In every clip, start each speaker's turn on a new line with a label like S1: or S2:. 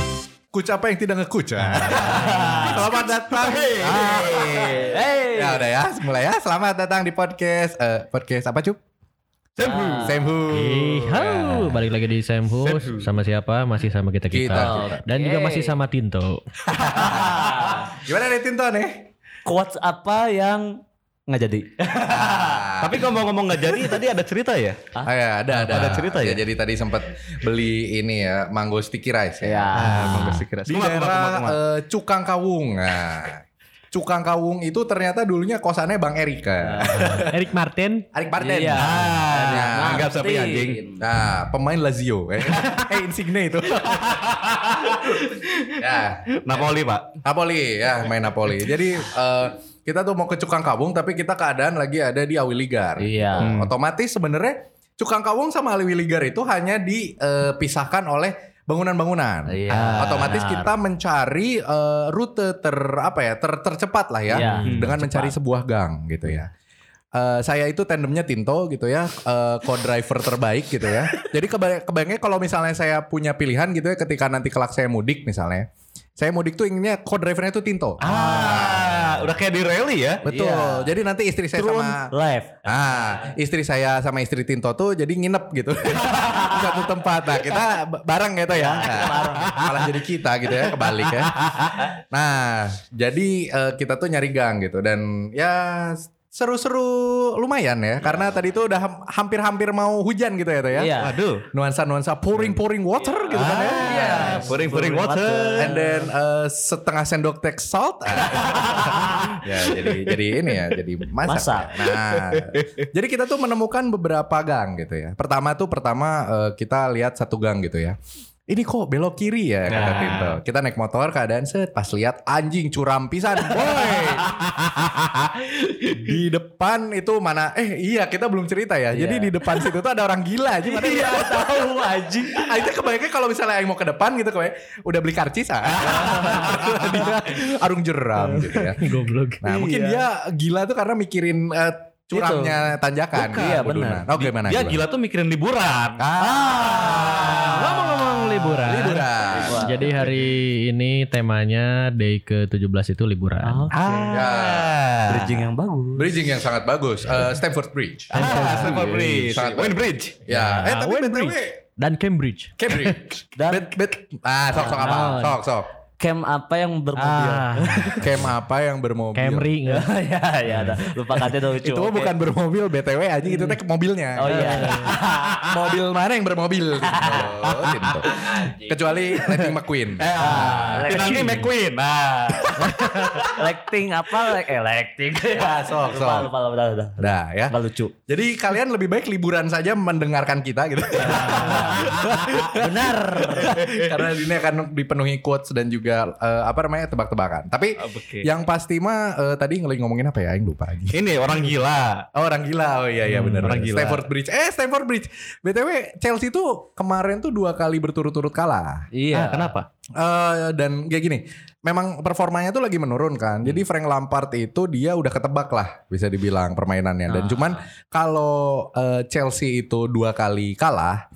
S1: ngekuc apa yang tidak ngekuc? Ah. Selamat datang.
S2: Hey.
S3: Ya udah ya, mulai ya. Selamat datang di podcast eh, podcast apa, Cup? Ah. Semhu. Semhu.
S2: Halo, balik lagi di Sam Hus. Sama siapa? Masih sama kita kita.
S3: Kita,
S2: Oh, Dan juga masih sama Tinto.
S3: Ya. Gimana nih Tinto nih?
S4: quotes apa yang nggak jadi?
S3: Ah.
S5: Tapi kalau ngomong nggak jadi tadi ada cerita ya.
S3: Ah, ya, ada, ada,
S5: Ada cerita ya?
S3: Jadi tadi sempat beli ini ya, mango sticky rice ya.
S4: Ya.
S3: Ah, mango sticky rice. Di
S5: Kumak, kumak,
S3: daerah
S5: kumak, kumak.
S3: eh, Cukang Kawung. Nah, Cukang Kawung itu ternyata dulunya kosannya Bang Erika.
S2: Erik Martin.
S3: Arik Barden.
S4: Iya.
S3: Ya,
S5: Nah,
S3: anggap
S5: ngerti.
S3: sampai anjing. Nah, pemain Lazio. Eh, eh Insigne itu. ya,
S5: Napoli pak.
S3: Napoli ya main Napoli. Jadi eh, kita tuh mau ke Cukang Kawung tapi kita keadaan lagi ada di Awiligar.
S4: Iya.
S3: Hmm. Otomatis sebenarnya Cukang Kawung sama Awiligar itu hanya dipisahkan oleh bangunan-bangunan.
S4: Iya,
S3: Otomatis
S4: benar.
S3: kita mencari eh, rute ter apa ya ter- tercepat lah ya
S4: Iya,
S3: dengan mencari sebuah gang gitu ya. Eh, saya itu tandemnya Tinto gitu ya, eh, co-driver terbaik gitu ya. Jadi keba- kebayangnya kalau misalnya saya punya pilihan gitu ya, ketika nanti kelak saya mudik misalnya, saya mudik tuh inginnya co-drivernya tuh Tinto.
S5: Ah, udah kayak di rally ya.
S3: Betul. Jadi nanti istri saya
S4: Turun
S3: sama
S4: live.
S3: Ah, istri saya sama istri Tinto tuh jadi nginep gitu. Di satu tempat. Nah, kita b- bareng gitu ya. Nah, Malah jadi kita gitu ya, kebalik ya. Nah, jadi eh, kita tuh nyari gang gitu dan ya seru-seru lumayan ya karena tadi tuh udah ham- hampir-hampir mau hujan gitu ya tuh ya.
S4: Iya.
S5: Waduh.
S3: Nuansa-nuansa pouring-pouring water gitu kan ya.
S5: Iya. Puring-puring water.
S3: And then eh, setengah sendok teh salt. Ah. ya jadi jadi ini ya jadi masak.
S4: Masak.
S3: Nah, jadi kita tuh menemukan beberapa gang gitu ya. Pertama tuh pertama eh, kita lihat satu gang gitu ya. Ini kok belok kiri ya kata
S5: Nah.
S3: Tinto. Kita naik motor keadaan set pas lihat anjing curam pisan. Boy. di depan itu mana eh iya kita belum cerita ya. Jadi di depan situ tuh ada orang gila aja mana iya, tahu anjing. Aja kebayangnya Ah, kalau misalnya yang mau ke depan gitu kayak udah beli karcis ah. Dia arung jeram gitu ya.
S2: Goblok.
S3: Nah, mungkin dia gila tuh karena mikirin eh, curamnya tanjakan.
S4: Bukan. Iya,
S3: Bodonan. Oh, gimana?
S5: Dia
S3: gimana?
S5: gila tuh mikirin liburan.
S3: Ah.
S2: Ngomong-ngomong liburan.
S3: Liburan.
S2: Jadi hari ini temanya day ke-17 itu liburan.
S3: Ya.
S4: Ah. Bridging yang bagus.
S3: Bridging yang sangat bagus. Eh, Stamford Bridge.
S5: Ah, Stamford Bridge.
S3: Sangat
S5: Wayne Bridge.
S3: ya. Eh, tapi
S2: Wayne
S3: BTW,
S2: Bridge. Dan Cambridge.
S3: Cambridge.
S4: Dan-
S3: bet, bet. Ah, sok, sok apa?
S2: Naon.
S3: Sok, sok.
S4: Cam apa yang bermobil?
S2: Ah,
S3: Cam apa yang bermobil?
S2: Camry
S4: Ya,
S2: enggak?
S4: ya, ya, ada. Lupa katanya tuh lucu.
S3: Itu
S4: Oke.
S3: bukan bermobil BTW aja itu teh mobilnya.
S4: Oh iya.
S3: mobil mana yang bermobil? Tinto, Tinto. Kecuali Lightning McQueen.
S4: Ah,
S5: Nanti
S4: Lexing.
S5: Eh, McQueen. Nah,
S4: Lexing apa? Lex- Eh, Lexing.
S3: Ah, sok,
S4: Lupa,
S3: sok.
S4: lupa, lupa, lupa.
S3: Dah ya.
S4: Lupa lucu.
S3: Jadi kalian lebih baik liburan saja mendengarkan kita gitu.
S4: Benar.
S3: Karena ini akan dipenuhi quotes dan juga eh, apa namanya tebak-tebakan. Tapi
S5: Oke.
S3: yang pasti mah eh, tadi ngelih ngomongin apa ya? Yang lupa aja.
S5: ini orang gila.
S3: Oh, orang gila. Oh iya iya benar.
S5: Hmm, orang gila.
S3: Stamford Bridge. Eh Stamford Bridge. BTW Chelsea tuh kemarin tuh dua kali berturut-turut kalah.
S5: Ah,
S4: Iya.
S5: kenapa?
S3: Eh, dan kayak gini, memang performanya tuh lagi menurun kan. Jadi
S5: Hmm.
S3: Frank Lampard itu dia udah ketebak lah bisa dibilang permainannya.
S5: Ah.
S3: Dan cuman kalau eh, Chelsea itu dua kali kalah,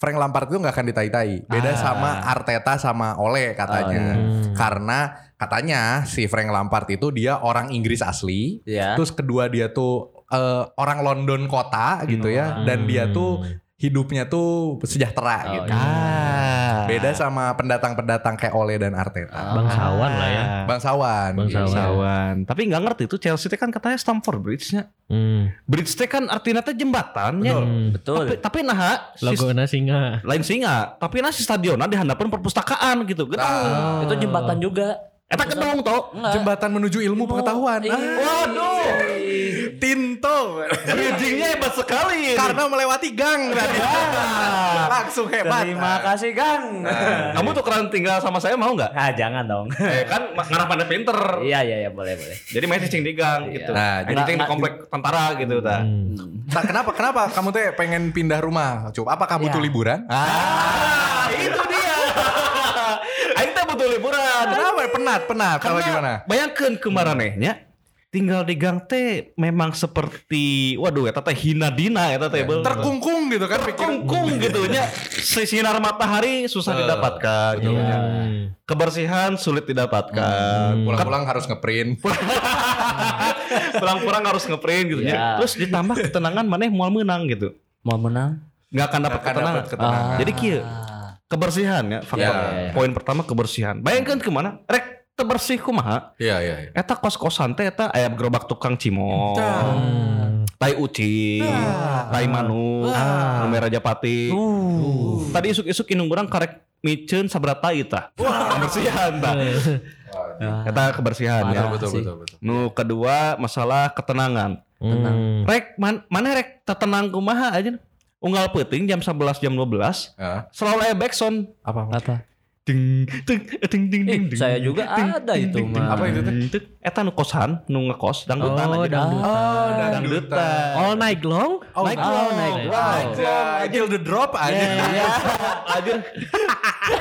S3: Frank Lampard itu nggak akan ditai-tai. Beda
S5: Ah.
S3: sama Arteta sama Ole katanya.
S5: Oh, iya. Hmm.
S3: Karena katanya si Frank Lampard itu dia orang Inggris asli.
S4: Iya.
S3: Terus kedua dia tuh eh, orang London kota gitu ya. Dan dia tuh hidupnya tuh sejahtera
S4: Hmm. Oh,
S3: gitu.
S4: iya.
S5: Ah.
S3: Beda sama pendatang-pendatang kayak Ole dan Arteta.
S2: Bangsawan lah ya.
S5: Ah.
S4: Ah.
S3: Bangsawan.
S2: Bangsawan.
S5: Sawan. Tapi nggak ngerti tuh Chelsea teh kan katanya Stamford Bridge-nya.
S2: Hmm.
S5: Bridge teh kan artinya teh jembatannya.
S2: Hmm.
S5: Tapi,
S4: Betul.
S5: tapi nah
S2: Logo singa.
S5: lain singa, tapi nah si stadionnya dihadapan perpustakaan gitu. Gedung.
S4: Ah.
S3: Nah,
S4: Itu jembatan juga.
S5: Eta gedung toh.
S4: Enggak.
S3: Jembatan menuju ilmu pengetahuan.
S4: Iya.
S3: Ah, waduh. Tinto.
S5: Bridgingnya hebat sekali. ini.
S3: Karena melewati gang tadi. Langsung hebat.
S4: Ah.
S3: Ah.
S4: Terima kasih, Kang.
S5: kamu tuh keren tinggal sama saya mau nggak?
S4: Ah, jangan dong.
S5: eh kan ngarapannya pinter.
S4: Iya, iya, iya, boleh, boleh.
S5: Jadi main cicing di gang gitu.
S3: Nah,
S5: Main cicing di komplek tentara gitu ta.
S3: Nah, kenapa kenapa kamu tuh pengen pindah rumah? Coba apakah butuh
S4: Iya.
S3: liburan?
S5: Ah, itu dia. Aing teh butuh liburan.
S4: Ah.
S3: Kenapa penat penat? Kalau
S5: Karena
S3: gimana? Hmm.
S5: Bayangkan kemarin tinggal di gang teh memang seperti waduh eta teh hina dina ya,
S3: Iya.
S5: eta teh beuh.
S3: Terkungkung gitu kan
S5: terkungkung gitu nya si- sinar matahari
S3: Eh,
S5: susah didapatkan
S3: betul.
S5: gitu.
S3: Iya.
S5: kebersihan sulit didapatkan
S3: Eh,
S5: Pulang-
S2: Hmm.
S3: Pulang-pulang harus ngeprint. Hmm.
S5: pulang-pulang harus ngeprint gitu
S4: Iya.
S5: nya terus ditambah ketenangan maneh moal menang gitu
S4: Mau menang?
S5: nggak akan dapat
S3: Akan
S5: ketenangan
S3: dapat ketenangan.
S5: Jadi kieu.
S4: Ah.
S5: kebersihan ya faktor
S3: Iya.
S5: poin pertama kebersihan bayangkan kemana rek terbersih kumaha
S3: Iya iya. iya.
S5: eta kos-kosan teh eta ayam gerobak tukang cimol
S3: Tah. Hmm.
S5: tai ucing
S2: Ah.
S5: tai manuk nu merah japati Ah,
S2: Uh.
S5: tadi isuk-isuk indung urang karek miceun sabrata ieu tah kebersihan tah
S4: Ah.
S5: eta kebersihan ya
S3: Betul betul betul betul.
S5: nu kedua masalah ketenangan
S2: Hmm.
S5: rek man, mana rek tetenang kumaha aja unggal peuting jam 11 jam 12
S3: Ah.
S5: selalu aya backsound
S3: Apa?
S4: Apa?
S5: ding ding ding ding
S4: Eh,
S5: ding ding,
S4: saya
S5: ding,
S4: juga
S5: ding,
S4: ada
S5: ding,
S4: itu,
S5: ding, ding,
S4: mah.
S3: Apa itu teh?
S5: ding, ding. eta nu kosan nu ngekos dangdutan
S2: Oh,
S5: aja
S2: dangdutan.
S4: Ah.
S3: Oh,
S5: dangdutan
S2: All night long?
S3: Oh,
S5: Naik
S4: Oh,
S5: dong.
S4: naik
S2: Naik
S4: dong.
S3: aja. Till the drop aja.
S5: aja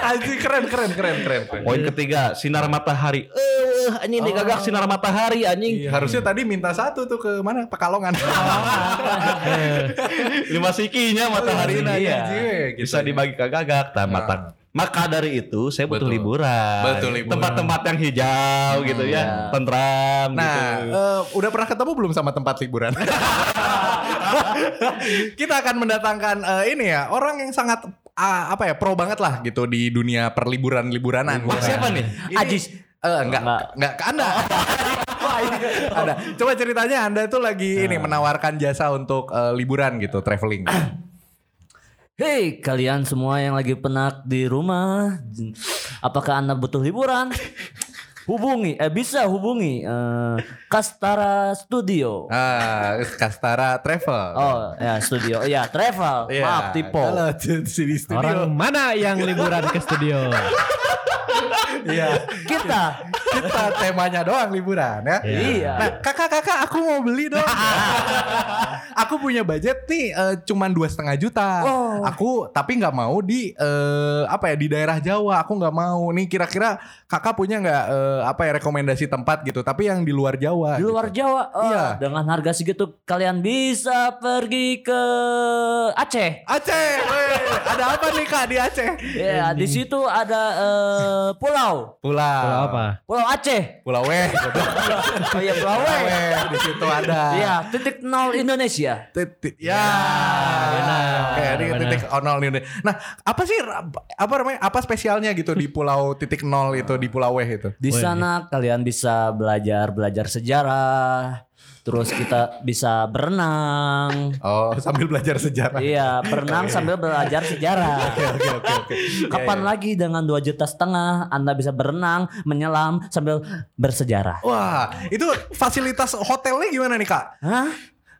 S3: Aja keren keren keren keren.
S5: poin ketiga sinar matahari eh anjing
S2: Oh.
S5: nih gagah sinar matahari anjing
S3: Iya, harusnya tadi minta satu tuh ke mana? Pekalongan.
S5: lima sikinya matahari
S3: Iya,
S5: iya.
S3: iya, gitu.
S5: bisa dibagi ke gagak tah mata maka dari itu saya butuh
S3: Betul.
S5: liburan
S3: Betul, liburan.
S5: tempat-tempat yang hijau gitu ya tentram
S3: Nah,
S5: gitu
S3: eh, udah pernah ketemu belum sama tempat liburan? Kita akan mendatangkan eh, ini ya orang yang sangat ah, apa ya pro banget lah gitu di dunia perliburan liburanan.
S5: Wah, siapa nih
S3: Ini-
S4: Ajis.
S3: Eh, enggak,
S4: Enggak.
S3: enggak ke Anda. Ada. Coba ceritanya Anda tuh lagi
S4: Nah.
S3: ini menawarkan jasa untuk eh, liburan gitu, traveling.
S4: Hei kalian semua yang lagi penak di rumah, apakah anda butuh liburan? hubungi, eh bisa hubungi eh, Kastara Studio.
S3: Ah, Kastara Travel.
S4: Oh ya studio, ya travel.
S3: Iya.
S4: Maaf tipe.
S3: Kalau di sini studio.
S2: Orang mana yang liburan ke studio?
S3: Iya.
S4: Kita,
S3: Kita temanya doang liburan ya.
S4: iya.
S3: Nah, kakak-kakak aku mau beli dong. aku punya budget nih eh, cuman dua setengah juta. Aku tapi nggak mau di eh, apa ya di daerah Jawa. Aku nggak mau nih. Kira-kira kakak punya nggak eh, apa ya rekomendasi tempat gitu? Tapi yang di luar Jawa.
S4: Di luar
S3: gitu.
S4: Jawa, oh,
S3: Iya.
S4: dengan harga segitu kalian bisa pergi ke Aceh.
S3: Aceh, weh. ada apa nih kak Iya, di Aceh?
S4: Ya di situ ada eh, pulau,
S3: Pulau,
S2: Kalau apa?
S4: pulau Aceh.
S3: Pulau Weh,
S4: Oh iya pulau.
S3: Pulau Weh di situ ada.
S4: Iya titik nol Indonesia.
S3: titik ya,
S2: benar,
S3: Oke, ini
S2: benar.
S3: titik nol nih. Nah, apa sih apa namanya? Apa spesialnya gitu di pulau titik nol itu di Pulau Weh itu?
S4: Di sana kalian bisa belajar belajar sejarah, terus kita bisa berenang.
S3: Oh, sambil belajar sejarah.
S4: iya, berenang sambil belajar sejarah.
S3: Oke, oke, oke.
S4: Kapan lagi dengan dua juta setengah Anda bisa berenang, menyelam sambil bersejarah?
S3: Wah, itu fasilitas hotelnya gimana nih, Kak?
S4: Hah?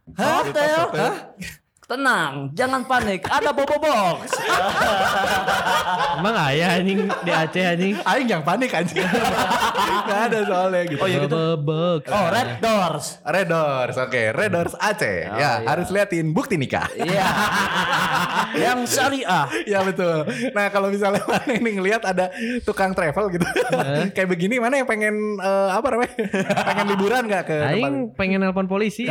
S4: Hotel? Hah? Tenang, jangan panik. Ada bobo box.
S2: Emang ayah anjing di Aceh anjing?
S3: Aing yang panik anjing. Gak ada soalnya gitu.
S2: Oh Bebek.
S3: Iya.
S4: Oh, red doors.
S3: Redors, oke, Redors Aceh. ya, harus liatin bukti nikah.
S4: Iya. Yang syariah.
S3: Ya betul. Nah kalau misalnya mana ini ngelihat ada tukang travel gitu, kayak begini mana yang pengen eh, apa namanya? pengen liburan nggak ke tempat?
S2: Aing pengen nelpon polisi.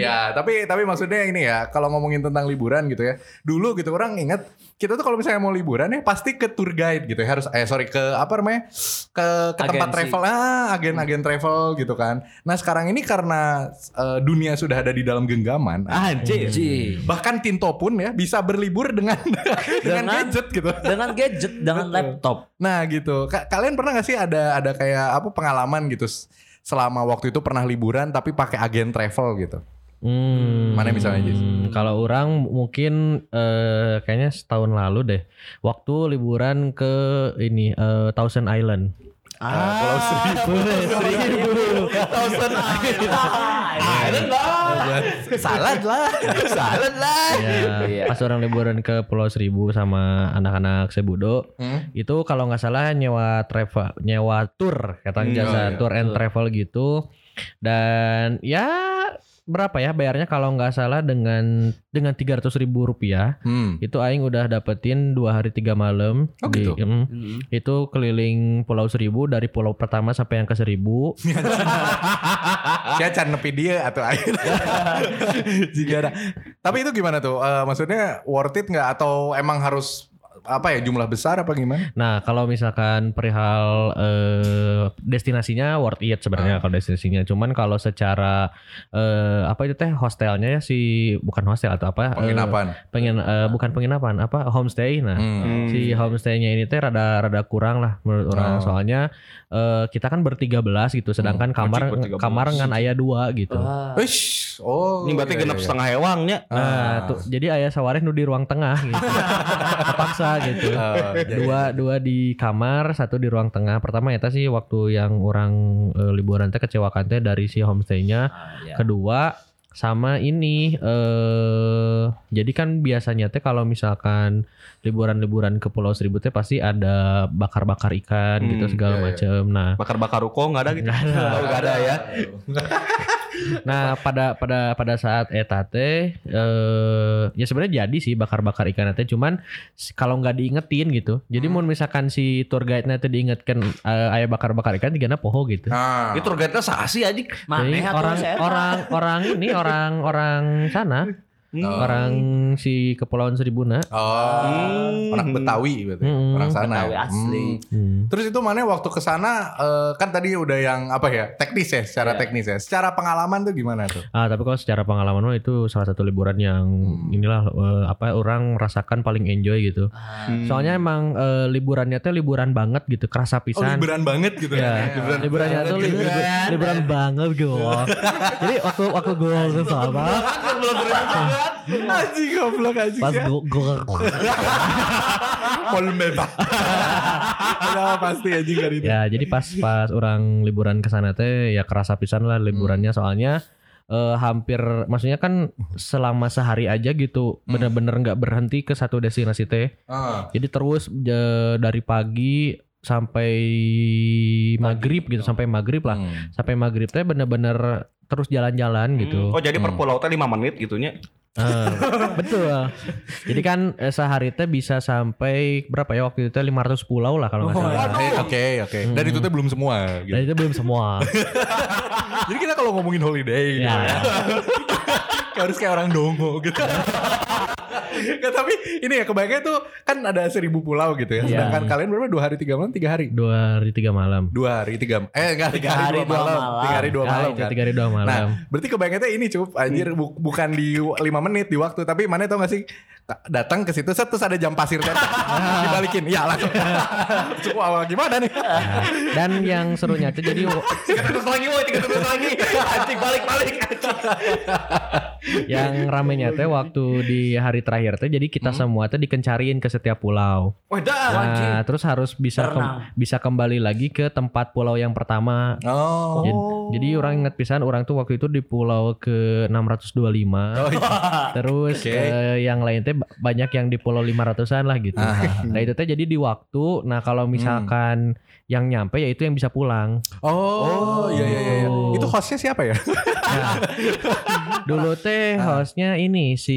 S3: Ya tapi tapi maksudnya ini ya kalau ngomongin tentang liburan gitu ya. Dulu gitu orang ingat kita tuh kalau misalnya mau liburan ya pasti ke tour guide gitu ya harus eh sorry ke apa namanya ke ke tempat
S4: Agensi.
S3: travel ah agen-agen travel gitu kan. Nah sekarang ini karena eh, dunia sudah ada di dalam genggaman. Iya.
S5: anjir
S4: Ji.
S3: Bahkan Tinto pun ya bisa berlibur dengan dengan
S4: Dengan-
S3: gadget gitu.
S4: Dengan gadget, dengan laptop.
S3: Nah gitu, Ka- kalian pernah gak sih ada ada kayak apa pengalaman gitu s- selama waktu itu pernah liburan tapi pakai agen travel gitu?
S2: Hmm.
S3: Mana misalnya, Jis?
S2: Hmm, Kalau orang mungkin eh, kayaknya setahun lalu deh, waktu liburan ke ini eh, Thousand Island.
S5: Ah,
S3: Pulau Seribu,
S5: Thousand
S4: Iya.
S5: Island
S3: salad lah, salad lah. Iya.
S2: Ya, pas orang liburan ke Pulau Seribu sama anak-anak Sebudo,
S3: Hmm?
S2: itu kalau nggak salah nyewa travel, nyewa tour, kata
S3: oh,
S5: Hmm,
S2: jasa
S3: iya,
S2: tour and travel gitu. Dan ya berapa ya bayarnya kalau nggak salah dengan dengan tiga ratus ribu rupiah
S3: Hmm.
S2: itu Aing udah dapetin dua hari tiga malam
S3: Oh,
S2: di-
S3: gitu.
S2: em,
S4: Mm-mm.
S2: itu keliling Pulau Seribu dari pulau pertama sampai yang ke Seribu
S3: Sia can nepi dia atau air. Jigara. Tapi itu gimana tuh? Eh, maksudnya worth it nggak atau emang harus apa ya jumlah besar apa gimana?
S2: Nah, kalau misalkan perihal eh, destinasinya worth
S3: Ah.
S2: it sebenarnya kalau destinasinya. Cuman kalau secara eh, apa itu teh hostelnya ya si bukan hostel atau apa? eh,
S3: Penginapan.
S2: pengen eh, bukan penginapan, apa homestay. Nah,
S3: Hmm.
S2: si homestaynya ini teh rada rada kurang lah menurut orang.
S3: Oh.
S2: Soalnya eh, kita kan bertiga belas gitu, sedangkan
S3: Hmm,
S2: kamar
S5: bertiga belas.
S2: kamar ngan ayah dua gitu.
S4: Wah.
S3: Wish. Oh.
S5: Ini
S3: iya,
S5: berarti genap
S3: iya.
S5: setengah ya. hewangnya.
S2: Nah,
S3: Ah.
S2: tuh, jadi ayah sawareh nu di ruang tengah gitu. Terpaksa gitu.
S3: Eh, jadi-
S2: dua dua di kamar satu di ruang tengah pertama eta sih waktu yang orang eh, liburan teh kecewakan teh dari si
S3: Ya.
S2: homestaynya
S5: iya.
S2: kedua sama ini eh jadi kan biasanya teh kalau misalkan liburan-liburan ke Pulau Seribu teh pasti ada bakar-bakar ikan
S5: Hmm,
S2: gitu
S3: iya,
S2: segala
S3: iya.
S2: macem nah
S5: Bakar-bakar ruko nggak ada gitu.
S2: Nggak ada.
S5: Oh, nggak ada ya.
S2: nah pada pada pada saat eta teh eh ya sebenarnya jadi sih bakar-bakar ikan teh cuman s- kalau nggak diingetin gitu jadi mau misalkan si tour guide nya teh diingetkan eh, aya bakar-bakar ikan digana poho gitu
S3: Nah.
S5: Itu targetnya sasi aja.
S2: Jadi
S4: Maneh
S5: ya,
S4: atuh
S2: orang
S4: Ah, saya.
S2: orang orang ini orang orang sana
S5: Hmm.
S2: orang si kepulauan Seribuna
S3: Oh.
S5: Hmm.
S3: Orang Betawi berarti.
S2: Hmm.
S3: Orang sana.
S4: Betawi
S3: ya.
S4: asli.
S3: Hmm. Terus itu mana waktu ke sana eh, kan tadi udah yang apa ya? Teknis ya, secara
S4: Iya.
S3: teknis ya. Secara pengalaman tuh gimana tuh?
S2: ah tapi kalau secara pengalaman mah itu salah satu liburan yang inilah eh, apa orang merasakan paling enjoy gitu
S5: Hmm.
S2: soalnya emang eh, liburannya teh liburan banget gitu kerasa
S3: Oh,
S2: pisan
S3: liburan banget gitu
S2: Ya, liburan liburannya tuh libur- libur- liburan banget gol. Jadi waktu waktu gol ke sama
S3: Anjing goblok anjing.
S2: pas gol gol
S3: Polmeba. Udah pasti anjing kan itu.
S2: ya jadi pas pas orang liburan ke sana teh ya kerasa pisan lah liburannya soalnya eh, hampir maksudnya kan selama sehari aja gitu bener-bener nggak berhenti ke satu destinasi teh
S3: Ah.
S2: jadi terus je- dari pagi sampai maghrib gitu sampai maghrib lah
S3: Hmm.
S2: sampai maghrib teh bener-bener terus jalan-jalan gitu
S5: Oh jadi per
S3: Hmm.
S5: pulau teh 5 menit gitu, ya. gitunya.
S2: Eh, betul. Jadi kan eh, sehari teh bisa sampai berapa ya waktu itu 500 pulau lah kalau nggak salah.
S3: Eh, Oke, oke.
S2: Hmm.
S3: Dan itu tuh belum semua gitu.
S2: Dan itu belum semua.
S3: Jadi kita kalau ngomongin holiday gitu
S2: Ya.
S3: ya. Kayak harus kayak orang dongo gitu. Nggak, tapi ini ya kebanyakan tuh kan ada seribu pulau gitu ya.
S2: Iya.
S3: Sedangkan kalian berapa dua hari tiga malam tiga hari?
S2: Dua hari tiga malam.
S3: Dua hari tiga eh enggak tiga, hari, dua, malam. Tiga hari dua
S2: Ah,
S3: malam Hmm.
S2: itu
S3: kan.
S2: Tiga hari dua
S3: Nah,
S2: malam.
S3: berarti kebanyakannya ini cup anjir bu- bukan di 5 menit di waktu tapi mana tau gak sih Ta- datang ke situ set, terus ada jam pasir tetek. dibalikin ya langsung cukup awal gimana nih
S2: Dan yang serunya tuh jadi
S5: Terus lagi woi, tiga terus lagi. Anjing balik-balik.
S2: yang ramenya teh waktu di hari terakhir teh jadi kita semua teh dikencarin ke setiap pulau.
S5: Wah dah.
S2: Nah, terus harus bisa kem-
S4: Berenang.
S2: bisa kembali lagi ke tempat pulau yang pertama.
S3: oh
S2: Jadi, jadi orang ingat pisan orang tuh waktu itu di pulau ke 625. Terus
S3: Oke.
S2: eh, yang lain teh ba- banyak yang di pulau 500-an lah gitu. Nah, itu teh jadi di waktu. Nah, kalau misalkan yang nyampe ya itu yang bisa pulang.
S3: oh iya iya iya
S2: Oh.
S3: itu hostnya siapa ya
S2: Nah, dulu teh hostnya ini si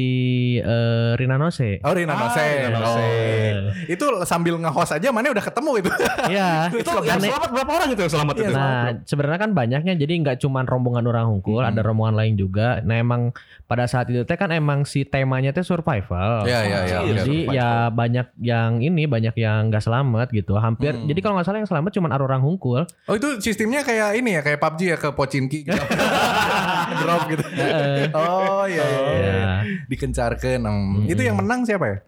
S2: eh, Rina Nose.
S3: oh Rina Nose Oh. itu sambil nge-host aja mana udah ketemu gitu
S2: Ya.
S5: Itu yang
S2: aneh.
S5: selamat berapa orang itu yang selamat
S3: Iya,
S5: itu?
S2: Nah, sebenarnya kan banyaknya jadi nggak cuman rombongan orang hungkul, ada rombongan lain juga. Nah, emang pada saat itu teh kan emang si temanya teh survival.
S3: Iya, iya, iya.
S2: Jadi
S3: Benar,
S2: ya banyak yang ini banyak yang nggak selamat gitu. Hampir
S3: Hmm.
S2: jadi kalau nggak salah yang selamat cuman orang hungkul.
S3: oh itu sistemnya kayak ini ya kayak PUBG ya ke Pocinki gitu. drop gitu oh iya iya, iya.
S2: Ya.
S3: dikencarkan hmm. itu yang menang siapa ya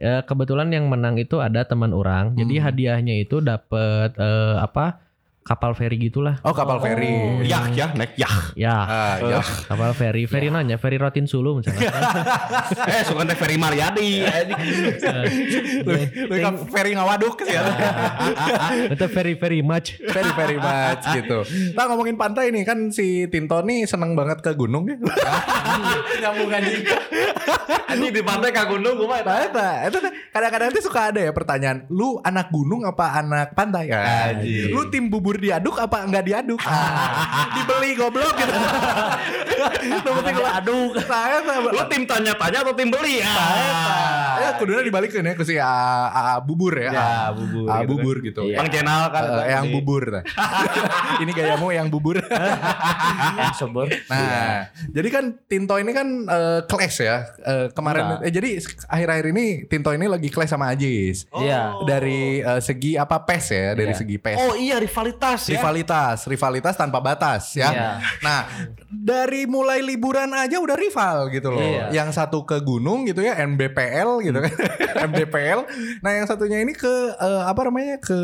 S2: Ya, kebetulan yang menang itu ada teman orang. Jadi
S3: Hmm.
S2: hadiahnya itu dapat eh, apa? Kapal feri gitulah.
S3: oh kapal
S5: Oh,
S3: feri
S5: Yah ya, naik yah.
S2: Ya,
S3: ah ya
S2: kapal feri. Feri nanya, feri rotin sulu misalnya.
S5: Eh, suka naik Ferry Mariadi.
S3: Eh, Lebih lebih ke Ferry ngawaduk sih ya.
S2: Itu feri feri match.
S3: Ferry Ferry much gitu. Nah ngomongin pantai nih kan si Tinto nih seneng banget ke gunung ya. Nyambung anjing.
S5: Anjing di pantai ka gunung gua mah.
S3: Nah, eta, eta teh, kadang-kadang tuh suka ada ya pertanyaan, lu anak gunung apa anak pantai? Ya,
S5: Anjing.
S3: lu tim bubur diaduk apa enggak diaduk? Ah, Dibeli goblok gitu. Lu penting lu aduk. Saya sama
S5: Lu tim tanya-tanya atau tim beli ya?
S3: Ya kudunya dibalikin ya ke si ah, ah, bubur ya.
S5: Ya,
S3: Ah,
S5: bubur
S3: ah,
S5: gitu
S3: bubur gitu.
S5: Bang channel kan.
S3: Eh, yang bubur. Nah. Ini gayamu yang bubur.
S5: Iya.
S4: Yang sober.
S3: Nah, jadi kan Tinto ini kan eh, clash ya. Eh,
S5: Iya.
S3: kemarin eh, jadi akhir-akhir ini Tinto ini lagi clash sama Ajis.
S4: Iya.
S3: Dari eh, segi apa PES ya, dari segi PES.
S5: Oh iya rivalitas ya.
S3: Rivalitas, rivalitas tanpa batas ya.
S4: Iya.
S3: Nah, dari mulai liburan aja udah rival gitu loh.
S4: Iya.
S3: Yang satu ke gunung gitu ya, MBPL gitu kan.
S5: Hmm.
S3: MBPL. Nah, yang satunya ini ke eh, apa namanya? ke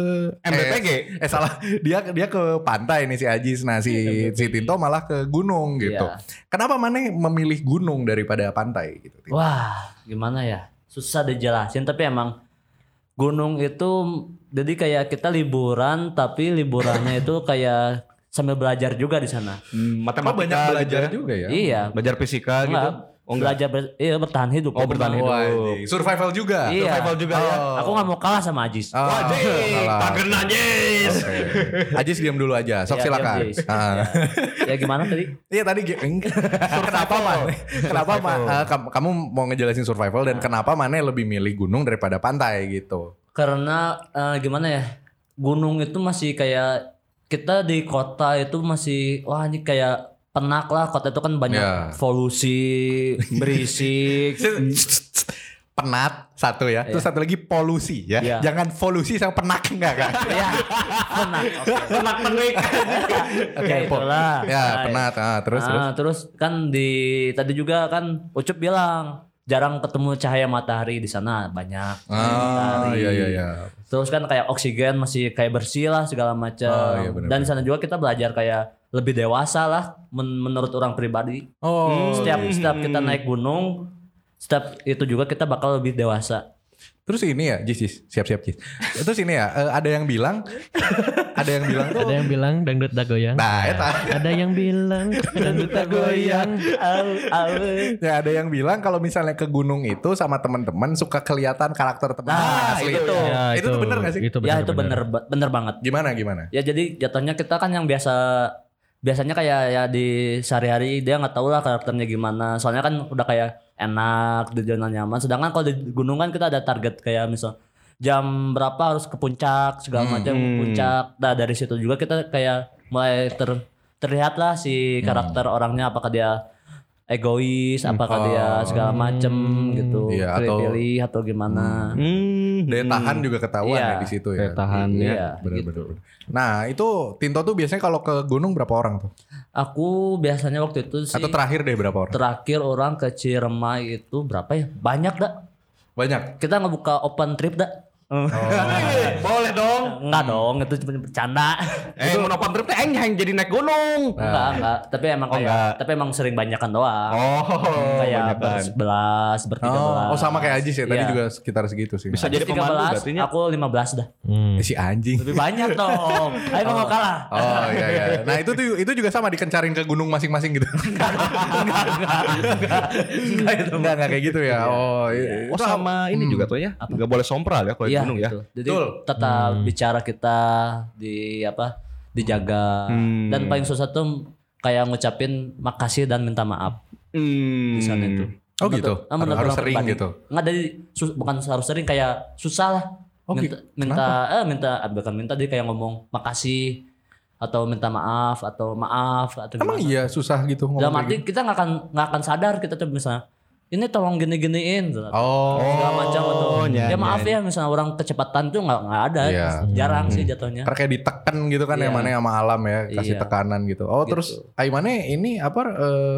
S5: MBPG.
S3: Eh, eh, salah. Dia dia ke pantai nih si Ajis. Nah, si si Tinto malah ke gunung gitu.
S4: Iya.
S3: Kenapa Maneh memilih gunung daripada pantai gitu? Tinto?
S4: Wah, gimana ya? Susah dijelasin tapi emang gunung itu jadi kayak kita liburan tapi liburannya itu kayak sambil belajar juga di sana.
S3: Oh,
S5: Hmm, matematika
S3: banyak belajar
S5: gitu ya.
S3: juga ya.
S4: Iya.
S5: Belajar fisika gitu.
S4: Enggak. belajar ber- iya, bertahan hidup.
S5: Oh, bertahan hidup.
S3: Wah, anjing. survival juga.
S4: Iya.
S5: Survival juga ya.
S4: Aku nggak mau kalah sama Ajis.
S3: Oh,
S5: Ah,
S3: salah.
S5: Tagen aja.
S3: Oke. Ajis diam dulu aja. Sok
S4: Iya,
S3: silakan.
S4: diam, Jis.
S3: Ah.
S4: ya gimana tadi?
S3: Iya tadi ge- kenapa man? Kenapa man? eh, kam- kamu mau ngejelasin survival
S4: Ah.
S3: dan kenapa Mane lebih milih gunung daripada pantai gitu?
S4: Karena eh, gimana ya? Gunung itu masih kayak kita di kota itu masih wah ini kayak penak lah kota itu kan banyak
S3: Ya.
S4: polusi, berisik.
S3: Penat satu ya, terus satu lagi polusi ya.
S4: Iya.
S3: Jangan polusi sama penak enggak kan?
S4: ya, penak. Oke.
S5: Penak penik.
S4: Oke, itulah.
S3: ya
S4: Nah,
S3: penat. Ah, terus terus.
S4: nah, terus kan di tadi juga kan Ucup bilang jarang ketemu cahaya matahari di sana banyak.
S3: Ah,
S4: matahari.
S3: iya iya iya.
S4: Terus kan kayak oksigen masih kayak bersih lah segala macam.
S3: Ah, iya, benar,
S4: Dan di sana juga kita belajar kayak lebih dewasa lah men- menurut orang pribadi.
S3: Oh,
S4: Hmm, setiap setiap kita naik gunung, setiap itu juga kita bakal lebih dewasa.
S3: terus ini ya, Jis, Jis. siap siap Jis. Terus ini ya, eh, ada yang bilang, ada yang bilang tuh.
S2: Ada yang bilang dangdut tak goyang.
S3: Nah, eta.
S2: Ada yang bilang dangdut tak goyang.
S4: Au, au.
S3: Ya ada yang bilang kalau misalnya ke gunung itu sama teman-teman suka kelihatan karakter teman
S5: Ah,
S4: Nah,
S5: iya.
S3: asli.
S5: gitu.
S4: itu.
S3: Ya,
S2: Ya,
S3: itu, tuh bener gak sih?
S2: Itu
S4: ya itu bener ba- bener banget.
S3: Gimana gimana?
S4: Ya jadi jatuhnya kita kan yang biasa biasanya kayak ya di sehari-hari dia nggak tahu lah karakternya gimana. Soalnya kan udah kayak enak di zona nyaman. Sedangkan kalau di gunung kan kita ada target kayak misal jam berapa harus ke puncak
S3: Hmm.
S4: segala macam ke puncak. Nah dari situ juga kita kayak mulai ter terlihat lah si
S3: Hmm.
S4: karakter orangnya apakah dia egois, apakah dia segala macem
S3: Oh.
S4: gitu,
S3: Iya, atau-
S4: pilih-pilih atau gimana.
S5: Hmm.
S3: Daya tahan juga ketahuan
S4: Iya.
S3: ya di situ ya.
S2: Daya tahan,
S3: Iya,
S4: ya.
S3: bener-bener. Nah, itu Tinto tuh biasanya kalau ke gunung berapa orang tuh?
S4: Aku biasanya waktu itu sih
S3: Atau terakhir deh berapa orang?
S4: terakhir orang ke Ciremai itu berapa ya? Banyak dak.
S3: Banyak.
S4: Kita ngebuka open trip dak.
S5: Oh, Eh, Boleh dong.
S4: Enggak dong, itu cuma bercanda.
S5: Eh, mau nonton trip teh aing jadi naik gunung.
S4: enggak, enggak. Tapi emang
S5: Nah. Oh,
S4: kayak,
S5: enggak.
S4: tapi emang sering banyakan doang.
S5: Oh,
S4: kayak bersebelas, bertiga belas.
S3: Oh, oh sama kayak Ajis ya, tadi
S4: Iya.
S3: juga sekitar segitu sih.
S5: Bisa jadi
S4: Tiga
S5: pemandu
S4: belas,
S5: berarti nya.
S4: aku lima belas dah.
S2: Hmm,
S3: Eh, si anjing.
S4: Lebih banyak dong. Ayo mau kalah.
S3: Oh iya iya. Nah itu tuh itu juga sama dikencarin ke gunung masing-masing gitu. Enggak enggak enggak kayak gitu ya. Oh iya.
S5: Oh sama ini juga tuh ya. Enggak boleh sompral ya kalau di
S4: Hmm. Iya,
S5: gunung ya.
S4: betul. Jadi
S3: Betul.
S4: tata bicara kita di apa? dijaga.
S5: Hmm.
S4: ah, Dan paling susah tuh kayak ngucapin makasih dan minta maaf
S5: Hmm.
S4: di sana itu.
S3: Oh gitu.
S4: Ah, menurut
S3: Harus
S4: orang
S3: sering
S4: pribadi.
S3: gitu.
S4: Nggak dari sus- bukan harus sering kayak susah lah.
S3: Oh, gitu.
S4: minta minta eh minta ah, bukan minta dia kayak ngomong makasih atau minta maaf atau maaf atau
S3: Emang
S4: gimana.
S3: iya susah gitu ngomong
S4: Dalam
S3: kayak
S4: arti
S3: gitu?
S4: kita nggak akan nggak akan sadar kita tuh misalnya ini tolong gini-giniin gitu.
S3: Oh,
S4: segala macam atau
S5: iya,
S4: ya maaf ya misalnya orang kecepatan tuh nggak nggak ada
S3: Iya.
S4: jarang sih jatuhnya
S3: karena kayak ditekan gitu kan
S4: Iya.
S3: yang mana sama alam ya kasih
S4: Iya.
S3: tekanan gitu. Oh terus Aimane ini apa? eh,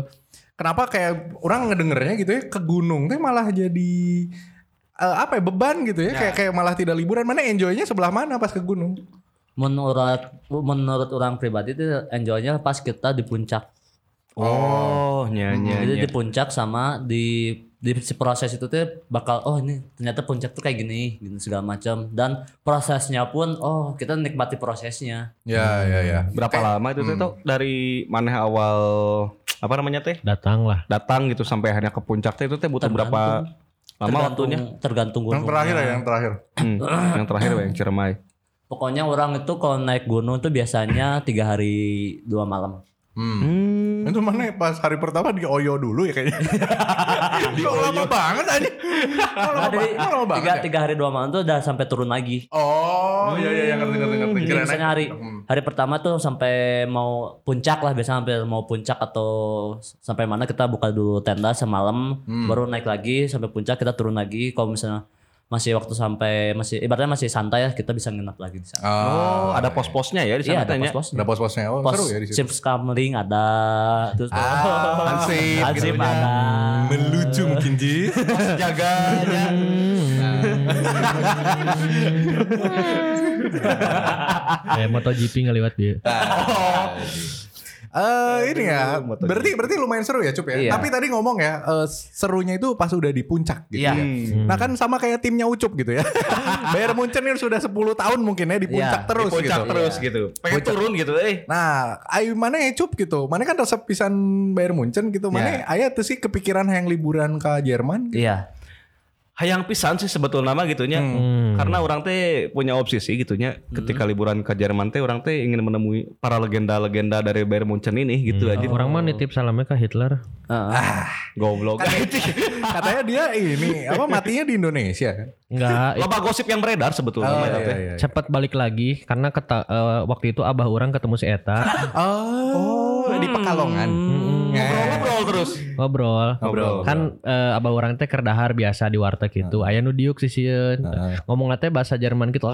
S3: kenapa kayak orang ngedengernya gitu ya ke gunung teh malah jadi eh, apa ya beban gitu ya? Kayak kayak malah tidak liburan. Mana enjoynya sebelah mana pas ke gunung?
S4: menurut menurut orang pribadi itu enjoynya pas kita di puncak
S5: Oh, nyanyi.
S4: Hmm. jadi di puncak sama di di si proses itu tuh bakal oh ini ternyata puncak tuh kayak gini gitu segala macam dan prosesnya pun oh kita nikmati prosesnya
S3: Ya ya ya.
S5: Berapa lama itu teh tuh dari mana awal apa namanya teh?
S2: Datang lah.
S5: Datang gitu sampai hanya ke puncak teh itu teh butuh berapa lama
S4: tergantung
S5: waktunya?
S4: tergantung
S3: Yang
S4: gunung
S3: terakhir ya yang terakhir.
S5: Hmm, yang terakhir Pak, yang Ciremai.
S4: Pokoknya orang itu kalau naik gunung tuh biasanya tiga hari dua malam.
S3: Hmm.
S4: Hmm.
S3: Itu mana ya? pas hari pertama di Oyo dulu ya kayaknya. Kok lama banget aja. Kok lama
S4: Jadi
S3: banget. Kok lama
S4: tiga,
S3: banget. ya?
S4: tiga hari dua malam tuh udah sampai turun lagi.
S3: Oh, iya iya iya, ngerti ngerti ngerti.
S4: Jadi
S3: Kirain
S4: misalnya
S3: naik.
S4: hari
S3: Hmm.
S4: hari pertama tuh sampai mau puncak lah biasanya sampai mau puncak atau sampai mana kita buka dulu tenda semalam
S3: Hmm.
S4: baru naik lagi sampai puncak kita turun lagi kalau misalnya masih waktu sampai masih ibaratnya masih santai ya kita bisa nginap lagi di sana.
S5: Oh,
S3: Ah,
S5: ada pos-posnya ya di sana
S4: Iya ada
S5: tanya.
S4: pos-posnya.
S3: Ada pos-posnya. Oh,
S4: Pos
S3: seru ya di situ.
S4: Chips Kamling ada terus
S3: Ah, hansip,
S4: Hansip
S3: gitunya.
S4: ada.
S3: Melucu mungkin Ji. Pos jaganya.
S2: Kayak MotoGP ngeliwat dia.
S3: Eh ini ya, berarti berarti lumayan seru ya Cup ya.
S4: Iya.
S3: Tapi tadi ngomong ya, eh, serunya itu pas udah di puncak gitu
S4: Iya.
S3: ya. Nah kan sama kayak timnya Ucup gitu ya. Bayar Munchen ini sudah 10 tahun mungkin ya di puncak
S4: Iya,
S3: terus
S5: Puncak
S3: gitu.
S5: terus gitu. Pengen turun gitu, eh.
S3: Nah, ayu mana ya cup gitu. Mana kan resep pisan Bayar Munchen gitu. Mana aya tuh sih kepikiran yang liburan ke Jerman. gitu.
S4: Iya.
S5: Hayang pisan sih sebetulnya mah gitunya. Karena orang teh punya obsesi gitunya ketika liburan ke Jerman teh orang teh ingin menemui para legenda-legenda dari Bayern Munchen ini gitu aja.
S2: Orang mah nitip salamnya ke Hitler.
S5: Goblok.
S3: Katanya dia ini apa matinya di Indonesia kan.
S2: Enggak,
S5: Loba gosip yang beredar
S3: Oh,
S5: sebetulnya mah
S3: iya.
S5: eta teh.
S2: cepat balik lagi karena keta- eh, waktu itu abah orang ketemu si Eta
S3: Oh, di Pekalongan.
S4: Hmm.
S5: Ngobrol terus.
S2: ngobrol.
S5: Ngobrol.
S2: Kan eh, abah orang teh kerdahar biasa di warteg gitu.
S3: Nah.
S2: Aya nu diuk sisieun. Ngomong teh bahasa Jerman gitu.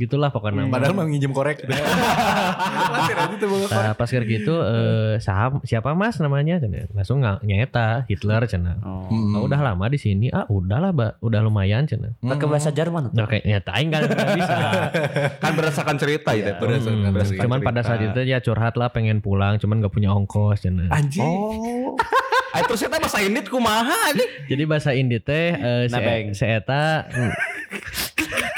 S2: gitulah pokoknya.
S3: Hmm. Padahal mau nginjem korek. Masih aja tuh bawa korek.
S2: Nah, pas kayak gitu eh, saham- siapa mas namanya Cina. langsung nga- nyeta Hitler cina
S4: Hmm. Oh.
S3: Hmm.
S2: "Ah, udah lama di sini ah udahlah ba. udah lumayan cina
S4: Pakai bahasa Jerman.
S2: nah kayak nyeta aing kan nggak bisa
S5: Kan berdasarkan cerita ya, teh.
S2: Hmm, cuman pada saat itu ya curhat lah pengen pulang cuman gak punya ongkos cina
S3: Anjing.
S5: Ah, terus eta bahasa Indit kumaha anjing.
S2: jadi bahasa Indi teh eh, si,
S4: Nebeng.
S2: si Eta hmm.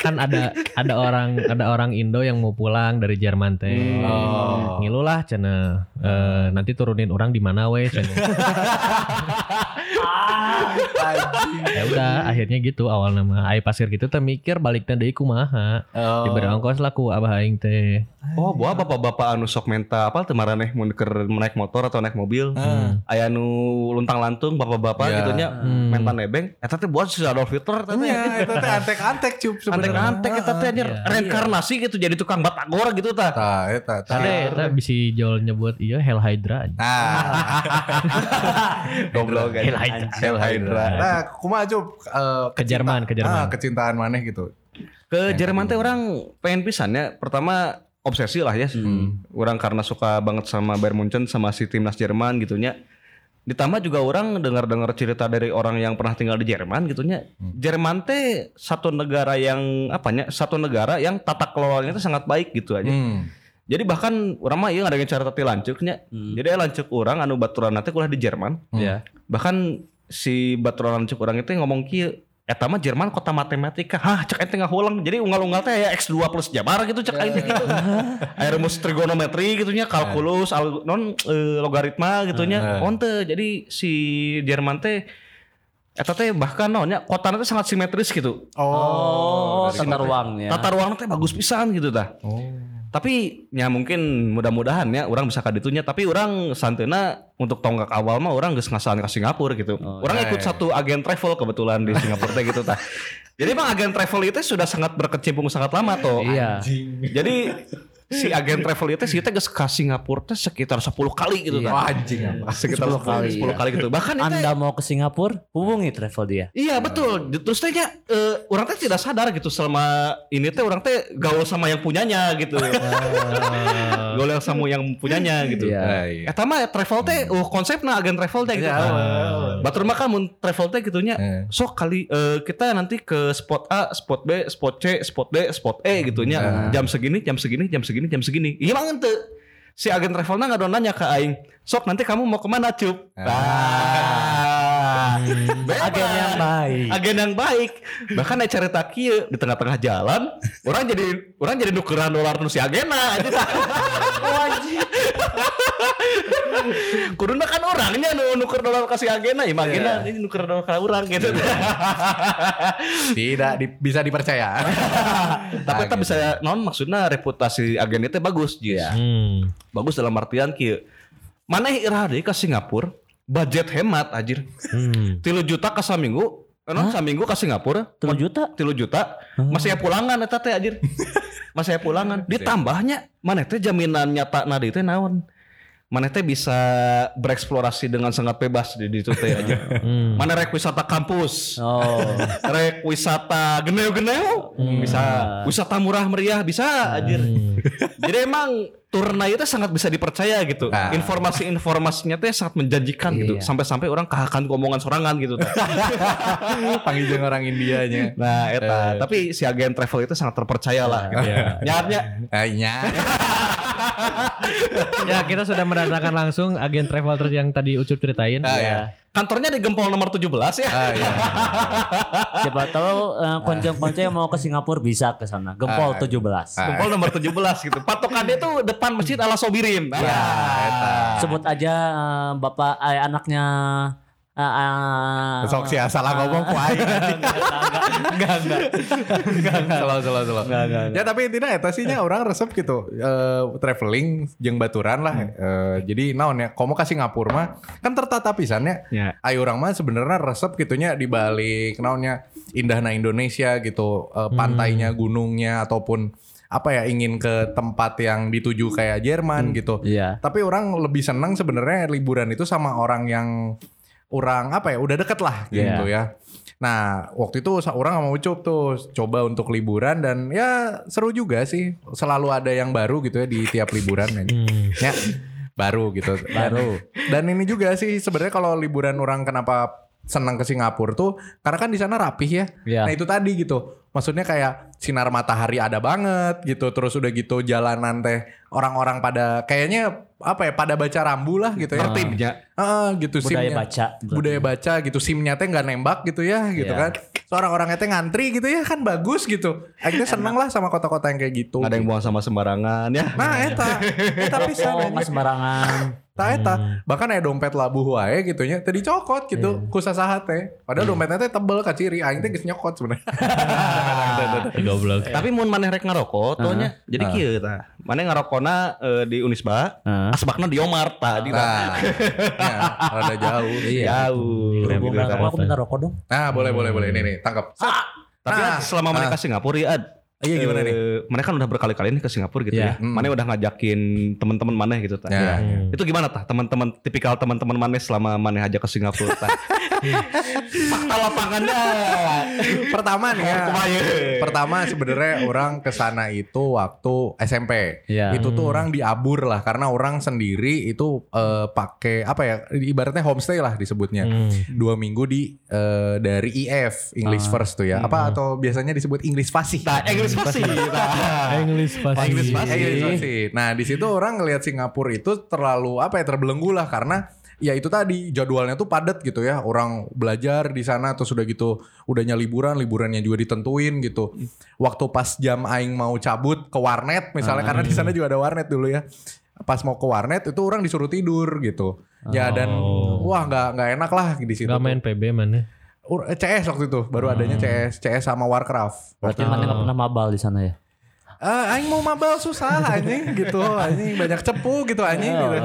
S2: kan ada ada orang ada orang Indo yang mau pulang dari Jerman teh
S3: Hmm.
S2: ngilulah cina Eh, nanti turunin orang di mana we cina
S3: Ah, Anjing.
S2: ya udah akhirnya gitu awal nama ai pasir gitu teh mikir baliknya deui kumaha
S3: Oh.
S2: diberi ongkos lah ku abah aing teh
S5: Oh, buah bapak-bapak anu sok menta apa teu maraneh mun keur naik motor atau naik mobil. Hmm. Aya nu luntang-lantung bapak-bapak
S3: Ya.
S5: gitunya menta nebeng. Eta teh buat si Adolf Hitler eta teh.
S3: Iya, itu teh antek-antek cup sebenarnya.
S5: Antek-antek eta teh anjir reinkarnasi gitu jadi tukang batagor gitu ta.
S3: Tah, eta, tah.
S2: ada eta bisi jol nyebut iya hell hydra anjing.
S3: Nah,
S5: Goblok
S2: hell
S5: kan.
S2: hydra
S3: Sel Hydra. Nah, kumaha cup eh,
S2: Ke Jerman, ke
S3: Ah,
S2: Jerman.
S3: kecintaan maneh gitu.
S5: Ke Jerman teh orang pengen pisannya. Pertama obsesi lah ya. Orang karena suka banget sama Bayern Munchen sama si timnas Jerman gitunya. Ditambah juga orang dengar-dengar cerita dari orang yang pernah tinggal di Jerman gitunya. Jerman teh satu negara yang apanya? Satu negara yang tata kelolanya itu sangat baik gitu aja.
S3: Hmm.
S5: Jadi bahkan orang mah ieu ngadengin cara tati lancuknya. Jadi aya lanceuk orang anu baturan nanti kuliah di Jerman.
S4: Iya.
S5: Bahkan si baturan lanceuk orang itu ngomong kieu Eta mah Jerman kota matematika. Hah, cek ente ngahulang. Jadi unggal-unggal teh aya X2 plus Jabar gitu cek aing teh gitu. Aya rumus trigonometri gitunya, kalkulus, al- non eh, logaritma
S3: Heeh.
S5: gitunya. Uh, Jadi si Jerman teh eta teh bahkan nonnya kotanya teh sangat simetris gitu.
S4: Oh,
S3: dari
S4: tata
S3: situ.
S4: ruangnya.
S5: Tata ruangnya teh bagus pisan gitu tah.
S3: Oh.
S5: Tapi ya mungkin mudah-mudahan ya orang bisa kaditunya tapi orang santena untuk tonggak awal mah orang geus ngasaan ke Singapura gitu.
S4: Oh,
S5: orang
S4: iya,
S5: ikut satu agen travel kebetulan di Singapura teh gitu tah. Jadi emang agen travel itu sudah sangat berkecimpung sangat lama toh.
S4: Iya.
S5: Jadi si agen travel itu sih teh geus ke Singapura teh sekitar 10 kali gitu
S3: Wah,
S4: Iya,
S5: tah.
S3: anjing apa?
S5: Sekitar 10 kali,
S3: Iya.
S5: 10 kali gitu. Bahkan itu
S4: Anda mau ke Singapura, hubungi travel dia.
S5: Iya betul. Terus tehnya eh, orang teh tidak sadar gitu selama ini teh orang teh gaul sama yang punyanya gitu. gaul yang sama yang punyanya gitu.
S4: Iya.
S3: Ah, iya. Ah.
S5: Eta mah travel teh uh, konsepna agen travel teh gitu. Batur mah kan mun travel teh gitunya.
S3: Eh.
S5: Sok kali eh, kita nanti ke spot A, spot B, spot C, spot D, spot E gitunya.
S3: Iya.
S5: Jam segini, jam segini, jam segini, jam segini. Iya mah ente. Si agen travelnya nggak nanya ke aing. Sok nanti kamu mau kemana cup?
S3: Ah.
S5: Tah. Bebas.
S4: Agen yang baik.
S5: Agen yang baik. Iya. Bahkan ada cerita kieu di tengah-tengah jalan, orang jadi orang jadi nukeran dolar nu si agena aja. Kurun kan orangnya nu nuker dolar kasih agena ya magena ini nuker dolar ka urang gitu.
S3: Tidak di- bisa dipercaya.
S5: Tapi kita bisa non maksudnya reputasi agen itu bagus jis.
S2: Hmm.
S5: Bagus dalam artian kieu. Maneh irah deui ka Singapura, budget hemat anjir.
S2: Hmm.
S5: 3 juta ka saminggu, Eh, non saminggu ka Singapura
S4: 3 juta?
S5: 3 juta
S4: Hmm.
S5: masih aya pulangan eta teh anjir. masih aya pulangan. Ditambahnya maneh teh jaminan nyata na deui teh naon? Maneh teh bisa bereksplorasi dengan sangat bebas di ditu teh anjir.
S2: Hmm.
S5: Mana rek wisata kampus?
S4: Oh.
S5: rek wisata geneu-geneu
S4: Hmm.
S5: bisa wisata murah meriah bisa anjir
S2: hmm.
S5: jadi emang turnai itu sangat bisa dipercaya gitu
S3: Ah.
S5: informasi-informasinya teh sangat menjanjikan gitu
S4: Nah. Iya.
S5: sampai-sampai orang kahakan omongan sorangan gitu
S3: Panggil orang Indianya. Eh,
S5: nah eta tapi si agen travel itu sangat terpercaya lah gitu
S3: Iya.
S5: ya nyarnya
S3: eh, Kayaknya.
S2: Ya kita sudah mendatangkan langsung agen travelers yang tadi Ucup ceritain.
S3: Ah,
S5: iya.
S3: ya.
S5: kantornya di Gempol nomor 17 ya
S3: Ah, iya.
S4: Siapa tahu eh, konco-konco yang mau ke Singapura bisa ke sana.
S3: Ah.
S4: Gempol 17.
S5: Gempol nomor 17 gitu patokannya tuh depan masjid ala Sobirin
S3: Iya,
S5: nah,
S4: Sebut aja eh, bapak eh, anaknya eh, eh,
S3: Sok sih salah ngomong ku aing. Enggak, enggak. Enggak, enggak. Slow, slow, slow. Ya tapi intinya eta sih nya orang resep gitu. Eh, traveling jeung baturan lah. Eh, jadi naon ya, komo ka Singapura mah kan tertata pisannya.
S5: Ya.
S3: Ayo orang mah sebenarnya resep gitu gitunya di balik naonnya ya, indahna Indonesia gitu, Eh, pantainya, gunungnya ataupun apa ya ingin ke tempat yang dituju kayak Jerman gitu.
S4: Iya.
S3: Tapi orang lebih senang sebenarnya liburan itu sama orang yang orang apa ya udah deket lah gitu ya. Nah waktu itu sa- orang sama Ucup tuh coba untuk liburan dan ya seru juga sih. Selalu ada yang baru gitu ya di tiap liburan. ya baru gitu. Baru. Dan ini juga sih sebenarnya kalau liburan orang kenapa senang ke Singapura tuh karena kan di sana rapih ya.
S4: Iya.
S3: Nah itu tadi gitu. Maksudnya kayak sinar matahari ada banget gitu. Terus udah gitu jalanan teh orang-orang pada kayaknya apa ya pada baca rambu lah gitu ya.
S5: tertibnya
S3: Ah, gitu
S4: budaya
S3: simnya.
S4: baca.
S3: Budaya baca gitu. Simnya teh nggak nembak gitu ya gitu kan.
S4: Iya.
S3: Seorang orangnya teh ngantri gitu ya kan bagus gitu. Akhirnya seneng lah sama kota-kota yang kayak gitu.
S5: ada yang buang sama sembarangan ya
S3: Nah eta. Eta pisan
S4: Oh, Hmm.
S3: anjing.
S4: nggak sembarangan.
S3: Tah eta. Bahkan aya dompet labuh wae gitu nya teu dicokot gitu
S4: Iya.
S3: ku sasaha teh. Padahal dompetnya teh tebel ka ciri, aing teh geus nyokot sebenarnya.
S2: Goblok.
S5: Tapi mun maneh rek ngarokok toh nya. Jadi kieu tah. Maneh ngarokona eh, di Unisba, asbakna di Yomart tah di tah.
S3: Nah, iya. ya, rada jauh.
S5: Iya.
S3: Ya.
S5: Jauh.
S4: Berhubung
S5: gitu
S4: nggak
S5: tah.
S4: apa aku minta rokok dong.
S3: Nah, boleh boleh boleh ini nih, tangkap.
S5: Tapi
S3: Nah.
S5: Ad, selama maneh ke Singapura ya, Ad.
S3: Iya, gimana
S5: eh,
S3: nih? Hmm.
S5: Maneh kan udah berkali-kali nih ke Singapura gitu
S4: Iya.
S5: ya. Maneh udah ngajakin teman-teman maneh gitu tah.
S3: Ya.
S2: Hmm.
S5: Itu gimana tah teman-teman tipikal teman-teman maneh selama maneh aja ke Singapura tah? Fakta lapangannya.
S3: Pertama nih ya.
S5: Kumaha?
S3: Pertama sebenarnya orang kesana itu waktu SMP.
S4: Iya.
S3: Itu tuh orang diabur lah karena orang sendiri itu eh, pakai apa ya ibaratnya homestay lah disebutnya.
S2: Hmm.
S3: Dua minggu di eh, dari IF English First tuh ya. Apa atau biasanya disebut English Fasih.
S5: Tah, English pasti.
S2: Ah, English pasti.
S5: English pasti.
S3: Iya, iya, pasti. Nah, di situ orang ngelihat Singapura itu terlalu apa ya terbelenggu lah karena ya itu tadi jadwalnya tuh padat gitu ya. Orang belajar di sana terus udah gitu udahnya liburan, liburannya juga ditentuin gitu. Waktu pas jam aing mau cabut ke warnet misalnya karena di sana juga ada warnet dulu ya. Pas mau ke warnet itu orang disuruh tidur gitu. Ya dan wah nggak nggak enak lah di situ.
S2: Gak main PB mana?
S3: Ur- CS waktu itu baru adanya CS, CS sama Warcraft.
S4: Berarti mana nggak pernah mabal di sana ya?
S3: Eh, aing mau mabal susah anjing gitu anjing banyak cepu gitu anjing gitu.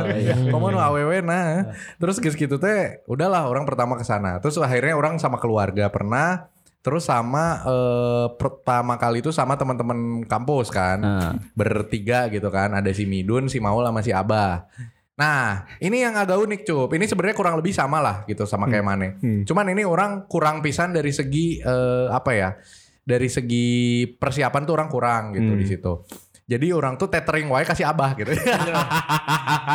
S3: Komo nu awewe nah. Terus geus gitu teh udahlah orang pertama ke sana. Terus akhirnya orang sama keluarga pernah terus sama eh, pertama kali itu sama teman-teman kampus kan.
S4: Ah.
S3: Bertiga gitu kan. Ada si Midun, si Maul sama si Abah. Nah, ini yang agak unik cup. Ini sebenarnya kurang lebih sama lah gitu sama kayak Mane. Cuman ini orang kurang pisan dari segi eh, apa ya? Dari segi persiapan tuh orang kurang gitu di situ. Jadi orang tuh tethering wae kasih abah gitu.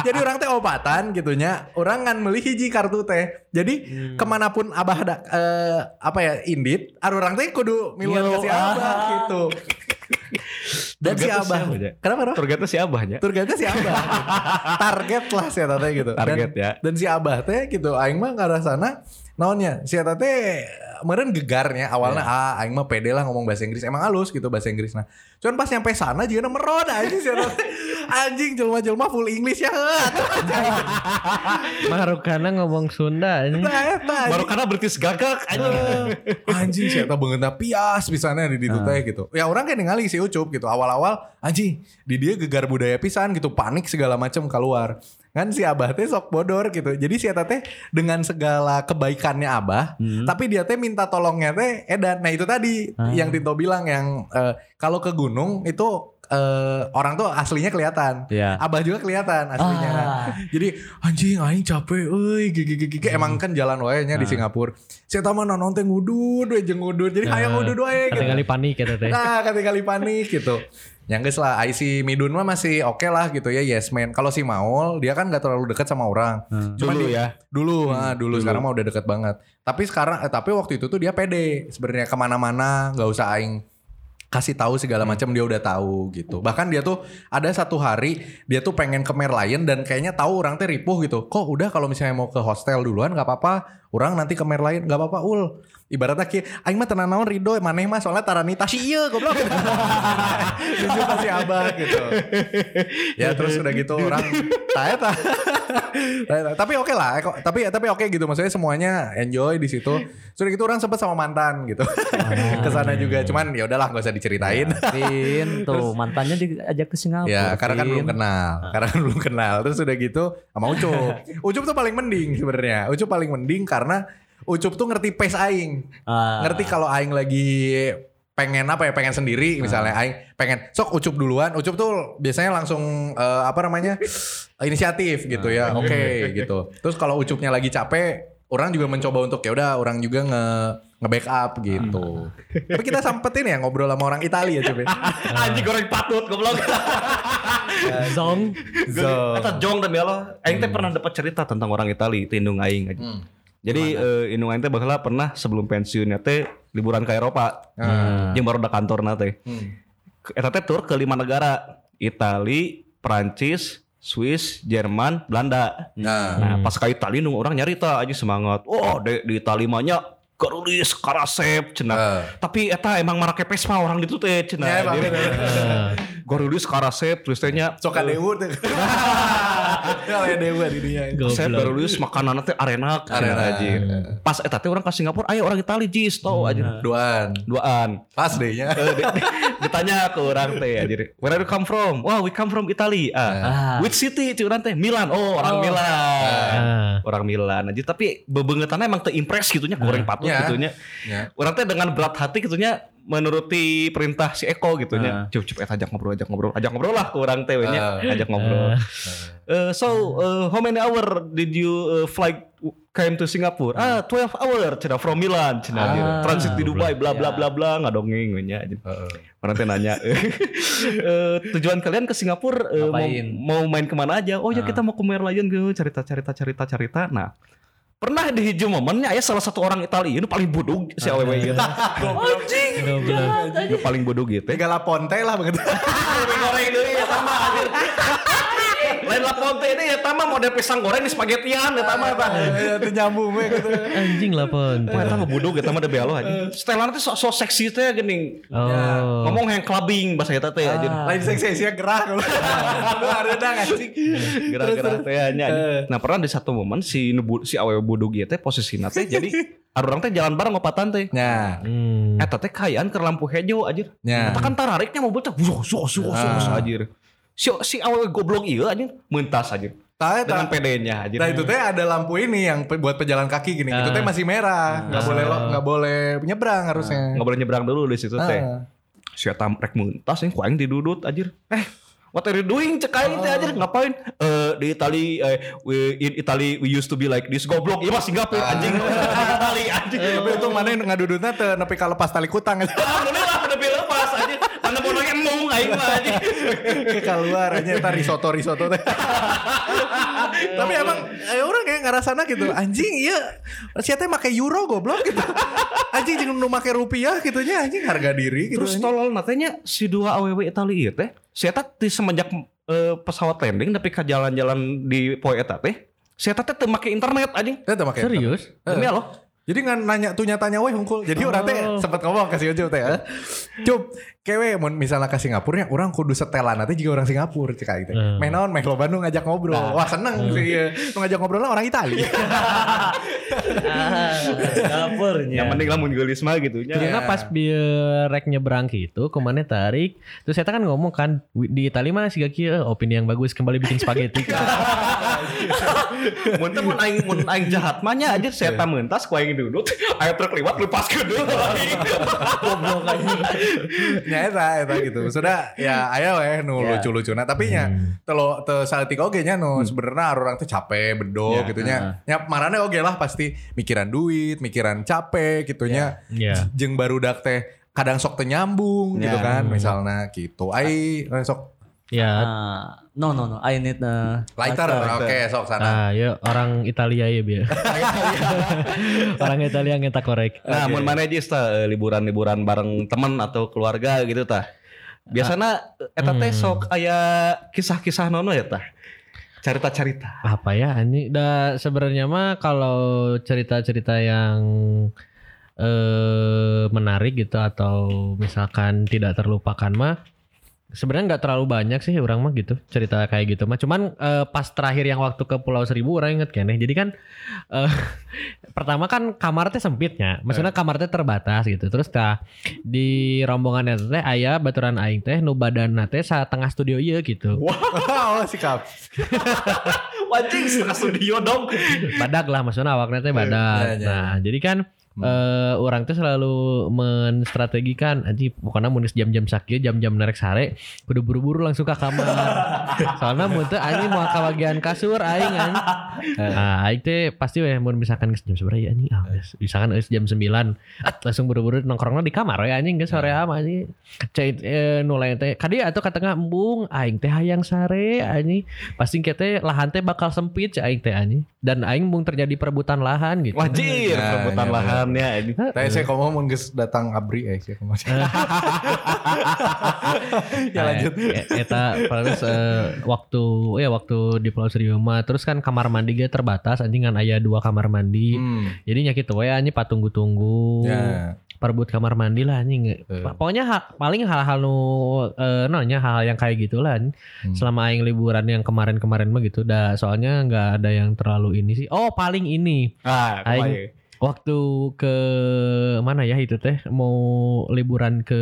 S3: Jadi orang teh obatan gitunya. Orang kan meuli hiji kartu teh. Jadi kemanapun abah ada eh, apa ya indit, ar orang teh kudu miluan
S4: Milu,
S3: kasih abah
S4: ah.
S3: gitu. Dan si
S5: Tergantung
S3: abah.
S5: siapa, Ja.
S3: Kenapa? Roh?
S5: Turgetnya si Abahnya.
S3: Turgetnya si Abah. Target lah si Eta teh gitu.
S5: Target
S3: dan,
S5: ya.
S3: Dan si Abah teh gitu aing mah ke arah sana naonnya si Eta teh meren gegarnya awalnya
S5: Iya.
S3: ah aing mah pede lah ngomong bahasa Inggris emang halus gitu bahasa Inggris nah. Cuman pas nyampe sana juga meron anjing sih. anjing jelma-jelma full English ya.
S2: Marukana ngomong Sunda ini.
S3: Nah, eta, anjing.
S5: Hmm. Baru karena berkis gagak aja.
S3: anjing sih eta beungeutna pias pisannya di ditu teh gitu. Ya orang kayak ningali si Ucup gitu awal-awal anjing di dia gegar budaya pisan gitu panik segala macam keluar. Kan si Abah teh sok bodor gitu. Jadi si eta teh dengan segala kebaikannya Abah, tapi dia teh minta tolongnya teh edan. Nah itu tadi yang Tito bilang yang eh, kalau ke gunung itu eh, orang tuh aslinya kelihatan.
S5: Iya.
S3: Abah juga kelihatan aslinya. Jadi anjing aing capek euy gigi gigi gigi. emang kan jalan wae nya di Singapura. Saya tahu mana nonton ngudud we jeung ngudud. Jadi hayang ngudud wae gitu.
S2: Kali panik
S5: Iya.
S2: ya teh.
S3: Nah, kali panik gitu. Yang guys lah, IC Midun mah masih oke lah gitu ya, yes man. Kalau si Maul, dia kan gak terlalu dekat sama orang.
S5: Dulu
S3: di-
S5: ya.
S3: Dulu, ah, dulu, sekarang mah udah deket banget. Tapi sekarang, eh, tapi waktu itu tuh dia pede sebenarnya kemana-mana, nggak usah aing kasih tahu segala macam dia udah tahu gitu. Bahkan dia tuh ada satu hari dia tuh pengen ke Merlion dan kayaknya tahu orang teh ripuh gitu. Kok udah kalau misalnya mau ke hostel duluan nggak apa-apa, orang nanti ke Merlion nggak apa-apa ul. Ibaratnya ki aing mah tenan naon Rido maneh mah soalnya taranita si ieu goblok. Jujur pasti abah gitu. Ya terus udah gitu orang tanya Eh, Tapi oke lah, eko- tapi tapi oke gitu maksudnya semuanya enjoy di situ. Sudah gitu orang sempat sama mantan gitu. Kesana juga cuman ya udahlah nggak usah diceritain.
S4: Iya. Vin tuh mantannya diajak ke Singapura.
S3: Ya, karena kan
S4: Vin.
S3: belum kenal. Karena kan belum kenal. Terus udah gitu sama Ucup. Ucup tuh paling mending sebenarnya. Ucup paling mending karena Ucup tuh ngerti pace aing.
S4: Ah.
S3: Ngerti kalau aing lagi pengen apa ya pengen sendiri misalnya aing pengen sok ucup duluan ucup tuh biasanya langsung eh, apa namanya inisiatif gitu ya oke gitu terus kalau ucupnya lagi capek orang juga mencoba untuk ya udah orang juga nge nge backup gitu tapi kita sempetin ya ngobrol sama orang Italia ya Cup, ya.
S5: Anjing goreng patut goblok.
S2: Zong.
S3: So.
S5: Eta jong demi Allah. Aing teh pernah dapat cerita tentang orang Itali teh indung aing.
S3: Hmm.
S5: Jadi eh, indung aing teh bakal pernah sebelum pensiunnya teh liburan ke Eropa.
S3: Ah.
S5: Jeung baru da kantor teh.
S3: Hmm.
S5: Eta teh tur ke lima negara. Itali, Prancis, Swiss, Jerman, Belanda.
S3: nah
S5: Nah, pas ke Itali nung orang nyarita aja semangat. Oh, di, di Itali mah nya Garulis, Karasep, cenah.
S3: Eh.
S5: Tapi eta emang marake pesma orang itu teh cenah.
S3: Ya, emang, Ah.
S5: Jadi,
S3: bener.
S5: Garulis, Karasep, terus teh nya
S3: Sok dewa tuh. Kalau dewa di dunia ini.
S5: saya baru lulus makanan teh arena kan.
S3: Arena.
S5: aja. Pas eta teh orang ke Singapura, ayo orang Itali jis tau
S3: Nah.
S5: aja.
S3: Duan.
S5: Duaan.
S3: Pas deh ya. nya.
S5: Eh, di- ditanya ke orang teh anjir, where are you come from? Wah, we come from Italy. Ah. Which city cuy orang teh? Milan. Oh, orang Milan.
S2: Ah.
S5: Orang Milan aja tapi bebengetannya emang teimpress gitunya goreng patut
S3: Ya.
S5: gitunya.
S3: Ya.
S5: Orang teh dengan berat hati gitunya menuruti perintah si Eko gitu gitunya. Cup cup eta eh, ajak ngobrol, ajak ngobrol, ajak ngobrol lah ke orang teh we nya, ajak ngobrol. Eh, so eh, how many hour did you eh, fly came to Singapore? Ah, 12 hour cina from Milan cina dia. Transit di Dubai bla bla bla bla ngadongeng we nya. Orang teh nanya eh, eh, tujuan kalian ke Singapura eh, mau,
S4: Ngapain?
S5: mau main kemana aja? Oh ya kita mau ke Merlion gitu cerita cerita cerita cerita. Nah pernah di hijau momennya ya salah satu orang Italia ini paling bodoh si aww gitu anjing Ini paling bodoh gitu
S3: Tiga laponte lah begitu.
S5: goreng deui ya tama anjir. Lain lapon teh ini ya tama model pisang goreng di spagetian ya tama eta.
S3: Iya, Itu nyambung we gitu.
S2: Anjing lah pon.
S5: Wah, eta mah bodoh ya tama ada bealo aja. Stelan teh sok sok seksi teh geuning.
S2: Oh.
S5: Ngomong yang clubbing bahasa eta teh anjir.
S3: Lain seksi-seksinya gerah kalau. Lu ada dah anjing.
S5: Gerah-gerah Iya. teh nya.
S3: Eh.
S5: anjing. Nah, pernah di satu momen si nu bu- si awewe bodoh ieu teh posisina teh jadi orang teh jalan bareng ngopatan teh.
S3: Nah,
S2: Hmm.
S5: Eta teh kayaan ke lampu hijau anjir.
S3: Ya. Ah.
S5: Eta kan tarariknya mobil teh wuh wuh wuh wuh anjir. Si si awewe goblok ieu anjir mentas anjir.
S3: tahu
S5: Dengan pedenya anjir.
S3: Nah itu teh ada lampu ini yang pe- buat pejalan kaki gini. Itu
S5: Ah.
S3: teh masih merah, nggak boleh lo- nggak boleh nyebrang harusnya. Ah.
S5: nggak boleh nyebrang dulu di situ Ah. teh. Si eta rek muntas nih kuaing didudut anjir. Eh, what are you doing cek aing teh
S3: Ah.
S5: anjir ngapain? Eh di Itali eh, we, in Italy we used to be like this goblok. Iya mah Singapura
S3: Ah.
S5: anjing. Itali anjing.
S3: Tapi untung mana yang ngadudutnya teh nepi ka lepas tali kutang
S5: Alhamdulillah udah beli lepas anjir. Mana bodoh emung aing mah anjing.
S3: ke keluar aja eta risotto risotto teh. Tapi emang eh, orang kayak ngarasana gitu. Anjing iya sia teh make euro goblok gitu. Anjing jeung nu make rupiah gitu nya anjing harga diri gitu.
S5: Terus tolol natanya si dua aww Itali ieu teh. Si eta ti semenjak eh, pesawat landing tapi ke jalan-jalan di poe eta teh. Si eta teh teu make internet anjing.
S3: Eta make.
S2: Serius?
S5: Demi Allah.
S3: Jadi ngan nanya tuh nyatanya weh hungkul. Jadi orang teh sempat ngomong ke si Ucup teh. ya. Cup, kewe mun misalnya ke Singapura ya orang kudu setelan nanti juga orang Singapura cek aing teh.
S2: Hmm.
S3: Meh naon meh loba nu ngajak ngobrol. Wah seneng sih ieu. Nu ngajak ngobrol lah orang Itali.
S5: Yang
S4: Dapurnya.
S5: penting lamun geulis mah gitu nya.
S2: Karena pas biar rek nyebrang gitu, kemana tarik. Terus saya kan ngomong kan "Wi- di Itali mana sih kaki eh, opini yang bagus kembali bikin spaghetti.
S5: Mun teu mun aing mun aing jahat mah nya anjir saya mentas ku aing duduk, aya truk liwat lepaskeun dulu.
S3: Nyata eta gitu. Sudah ya aya weh nu
S4: Ya.
S3: lucu-lucuna tapi nya telo teu saletik oge nya nu sebenarnya orang teh capek bedog
S5: Ya,
S3: gitu nya. Nya marane oge lah pasti mikiran duit, mikiran capek gitu nya.
S5: Iya.
S2: Ya.
S3: Jeung barudak teh kadang sok teu nyambung gitu
S5: Ya.
S3: kan misalnya gitu. Ai eh, sok
S2: Ya.
S4: Ah, no no no, I need uh,
S3: lighter. Ah. Oke, sok sana.
S2: Nah, ya orang Italia ya biar. orang Italia yang kita korek.
S5: Nah, mun mana aja tah eh, liburan-liburan bareng teman atau keluarga gitu tah. Biasana eh, eta teh sok aya kisah-kisah nono ya tah. Cerita-cerita.
S2: apa ya ini da sebenarnya mah kalau cerita-cerita yang eh menarik gitu atau misalkan tidak terlupakan mah sebenarnya nggak terlalu banyak sih orang mah gitu cerita kayak gitu mah cuman eh, pas terakhir yang waktu ke Pulau Seribu orang inget kene jadi kan eh, pertama kan kamarnya sempitnya maksudnya kamarnya terbatas gitu terus tah di rombongan eta teh ayah baturan aing teh nu badanna teh satengah studio iya gitu
S3: Wow, Oh, sikap.
S5: Wajing setengah studio dong.
S2: badak lah maksudnya awaknya teh badak.
S3: Ya, ya, ya.
S2: Nah, jadi kan eh orang tuh selalu menstrategikan aji pokoknya mun geus jam-jam sakit jam-jam nerek sare kudu buru-buru langsung ke kamar soalnya mun teu anjing mau ka bagian kasur aing kan nah aing teh pasti weh mun misalkan geus jam seberapa ya anjing ah geus. misalkan geus jam 9 at langsung buru-buru nongkrongna di kamar we anjing geus sore ama anjing cai eh, nu lain teh kadieu atuh ka tengah embung aing teh hayang sare anjing pasti kita lahan teh bakal sempit cai aing teh anjing dan aing mung terjadi perebutan lahan gitu
S5: Wajir
S3: Nah,
S5: perebutan
S3: iya,
S5: lahannya ya, ini.
S3: Tapi saya ngomong mun geus datang abri eh saya ngomong.
S2: Ah,
S3: iya,
S2: ya lanjut eta terus eh, waktu ya waktu di Pulau Seribu mah terus kan kamar mandi ge terbatas anjing kan aya dua kamar mandi
S3: Hmm.
S2: jadi nyakit we anjing patunggu-tunggu
S3: Ya.
S2: perebut kamar mandi lah anjing
S3: Eh.
S2: pokoknya ha- paling hal-hal nu eh, nanya hal-hal yang kayak gitulah anjing.
S3: Hmm.
S2: selama aing liburan yang kemarin-kemarin mah gitu dah soalnya nggak ada yang terlalu ini sih oh paling ini
S5: Ah,
S2: Aing-
S5: kumaha ieu?
S2: waktu ke mana ya itu teh mau liburan ke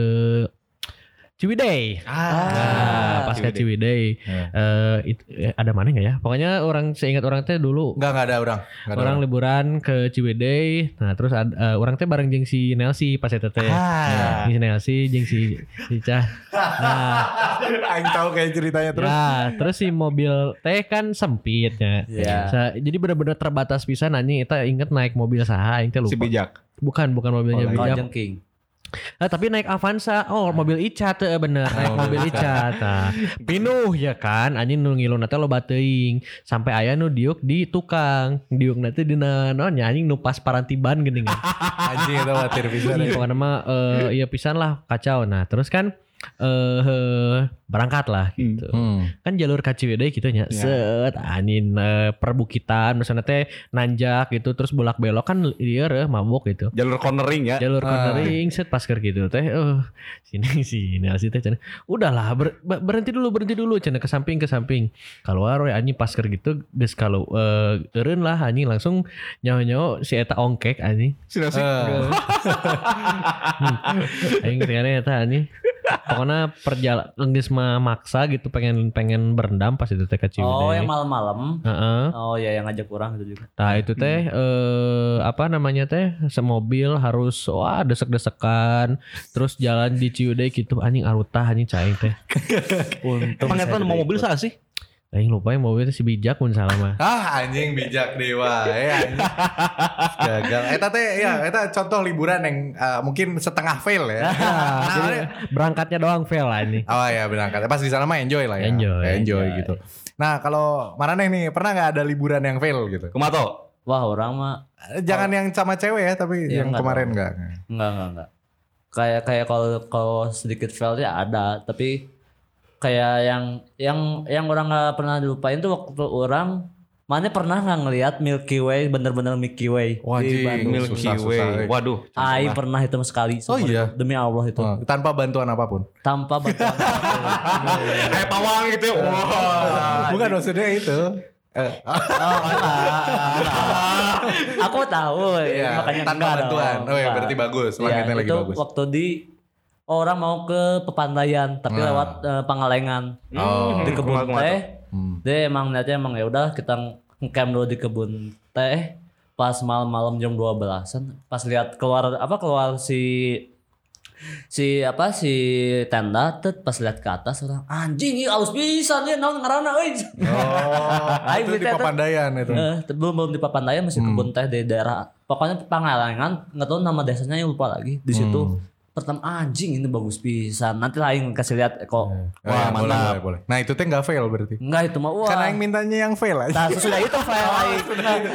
S2: Ciwidey
S5: Ah,
S2: Nah, pas ke Ciwidey
S3: Ya.
S2: eh, itu- eh, ada mana nggak ya? Pokoknya orang seingat orang teh dulu
S3: Enggak enggak ada orang. Enggak ada
S2: orang liburan ke Ciwidey. Nah, terus ada, eh, orang teh bareng jeung si Nelsi pas eta teh.
S5: Ah.
S2: Jeung Ya, si Nelsi jeung si si Cah. Nah,
S3: Aing tahu kayak ceritanya terus.
S2: ya, terus si mobil teh kan sempitnya.
S4: Ya.
S2: jadi benar-benar terbatas pisan anjing eta inget naik mobil saha aing teh
S5: si
S2: lupa.
S5: bijak.
S2: bukan bukan mobilnya
S5: Oh,
S2: bijak.
S4: Kojeng King.
S2: Ah, tapi naik Avanza, oh mobil Icat eh, bener, naik mobil Icat. Nah, pinuh ya kan, anjing nu ngilun nanti lo bateing, sampai ayah nu diuk di tukang, diuk nanti di naon ya, anjing nu pas parantiban gini kan.
S3: Anjing eta watir pisan. ya.
S2: Iya, pokoknya mah eh, iya pisan lah kacau. Nah terus kan eh eh, berangkat lah gitu.
S3: Hmm.
S2: Kan jalur KCWD gitu nya.
S4: Ya.
S2: Set anjing eh, perbukitan misalnya teh nanjak gitu terus bolak-belok kan dia eh, mabuk gitu
S5: Jalur cornering ya.
S4: Eh,
S2: jalur
S3: Ah.
S2: cornering set pas keur gitu teh eh sini sini asli teh cenah udahlah ber- ba- berhenti dulu berhenti dulu cenah ke samping ke samping keluar we anjing pas keur gitu geus kalau eh eureun lah anjing langsung nyaho-nyaho si eta ongkek anjing
S5: Sudah sih.
S2: aing kayaknya eta anjing pokoknya perjalanan geus mah maksa gitu pengen pengen berendam pas itu teh kecil
S4: Oh, yang malam-malam. Oh ya yang ngajak orang itu juga.
S2: Nah itu teh eh, apa namanya teh semobil harus wah desek-desekan terus jalan di Ciude gitu anjing arutah anjing caing teh
S4: Untung saya
S5: Pangeran
S4: tidak
S5: mau mobil
S4: ikut.
S5: sah sih.
S2: anjing lupa yang mobil teh si bijak pun salah mah
S3: Ah anjing bijak dewa eh anjing. Gagal. Eta teh ya eta contoh liburan yang eh, mungkin setengah fail ya.
S2: Ah, jadi berangkatnya doang fail anjing
S3: Oh ya berangkat. Pas di sana mah enjoy lah ya.
S2: Enjoy.
S3: enjoy gitu. Nah kalau Maraneh nih pernah nggak ada liburan yang fail gitu?
S5: Kumato.
S4: Wah orang mah
S3: Eh, Jangan yang sama cewek ya tapi
S4: Oh. Iya,
S3: yang
S4: nggak
S3: kemarin
S4: tahu.
S3: enggak.
S4: Enggak, enggak, enggak. Kayak kayak kalau kalau sedikit failnya ada, tapi kayak yang yang yang orang nggak pernah dilupain tuh waktu orang Mana pernah nggak ngelihat Milky Way bener-bener Milky Way
S3: Wajing.
S4: di Bandung?
S3: Milky
S5: Milky
S3: Susah-susah, eh.
S5: Way. Waduh.
S4: Aing pernah itu sekali. seumur
S3: iya?
S4: hidup. Demi Allah itu.
S3: Nah, tanpa bantuan apapun.
S4: Tanpa bantuan. Eh,
S5: Kayak pawang gitu. ya. Wah.
S3: Eh, Bukan maksudnya itu. Eh,
S4: oh, enggak, enggak. Aku tahu
S3: Iya,
S4: ya, makanya
S3: tanpa
S4: enggak dong,
S3: bantuan. Oh iya,
S4: enggak.
S3: berarti bagus,
S4: Iya,
S3: langitnya lagi
S4: itu
S3: bagus.
S4: Waktu di orang mau ke Pepandayan tapi
S3: Nah.
S4: lewat eh, Pangalengan.
S3: Oh.
S4: di kebun
S5: kumaha-kumaha
S4: teh.
S3: Hmm.
S4: Dia emang niatnya emang ya udah kita ngecamp dulu di kebun teh pas malam-malam jam 12-an pas lihat keluar apa keluar si si apa si tenda tet pas lihat ke atas orang anjing ieu alus pisan ya naon ngaranna euy.
S3: Oh,
S4: Aing
S3: itu di
S4: berita itu.
S3: Papandayan itu.
S4: Eh, te- belum belum di Papandayan masih
S3: Hmm.
S4: kebun teh di daerah pokoknya Pangalengan nggak tahu nama desanya yang lupa lagi di
S3: Hmm.
S4: situ pertama anjing ini bagus pisan nanti lain kasih lihat kok
S3: Wah, mantap. Oh, iya, Boleh, boleh. Nah, itu teh nggak fail berarti.
S4: enggak itu mah wah
S3: Hmm. Karena yang mintanya yang fail aja.
S4: Nah, sesudah itu fail aing.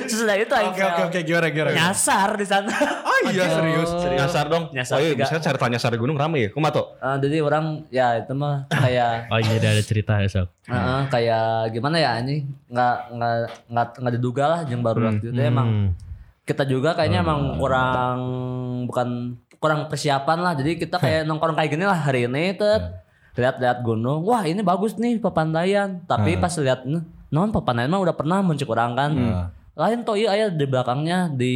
S4: Sesudah itu aing
S3: Oke, oke,
S4: fail.
S3: oke, gimana, gimana?
S4: Nyasar di sana.
S3: Oh iya, serius.
S5: Nyasar dong.
S4: Nyasar
S5: oh iya,
S4: tiga.
S5: bisa cerita nyasar di gunung rame ya. Kumato.
S4: Eh, jadi orang ya itu mah kayak
S2: Oh iya ada cerita esok.
S4: eh, eh, kayak gimana ya ini nggak nggak nggak nggak diduga lah yang baru waktu itu emang kita juga kayaknya emang kurang bukan kurang persiapan lah jadi kita kayak nongkrong kayak gini lah hari ini tet lihat-lihat gunung wah ini bagus nih pepandayan tapi pas lihat "Nuh, non pepandayan mah udah pernah muncul orang kan
S3: Hmm.
S4: lain toh iya aya di belakangnya di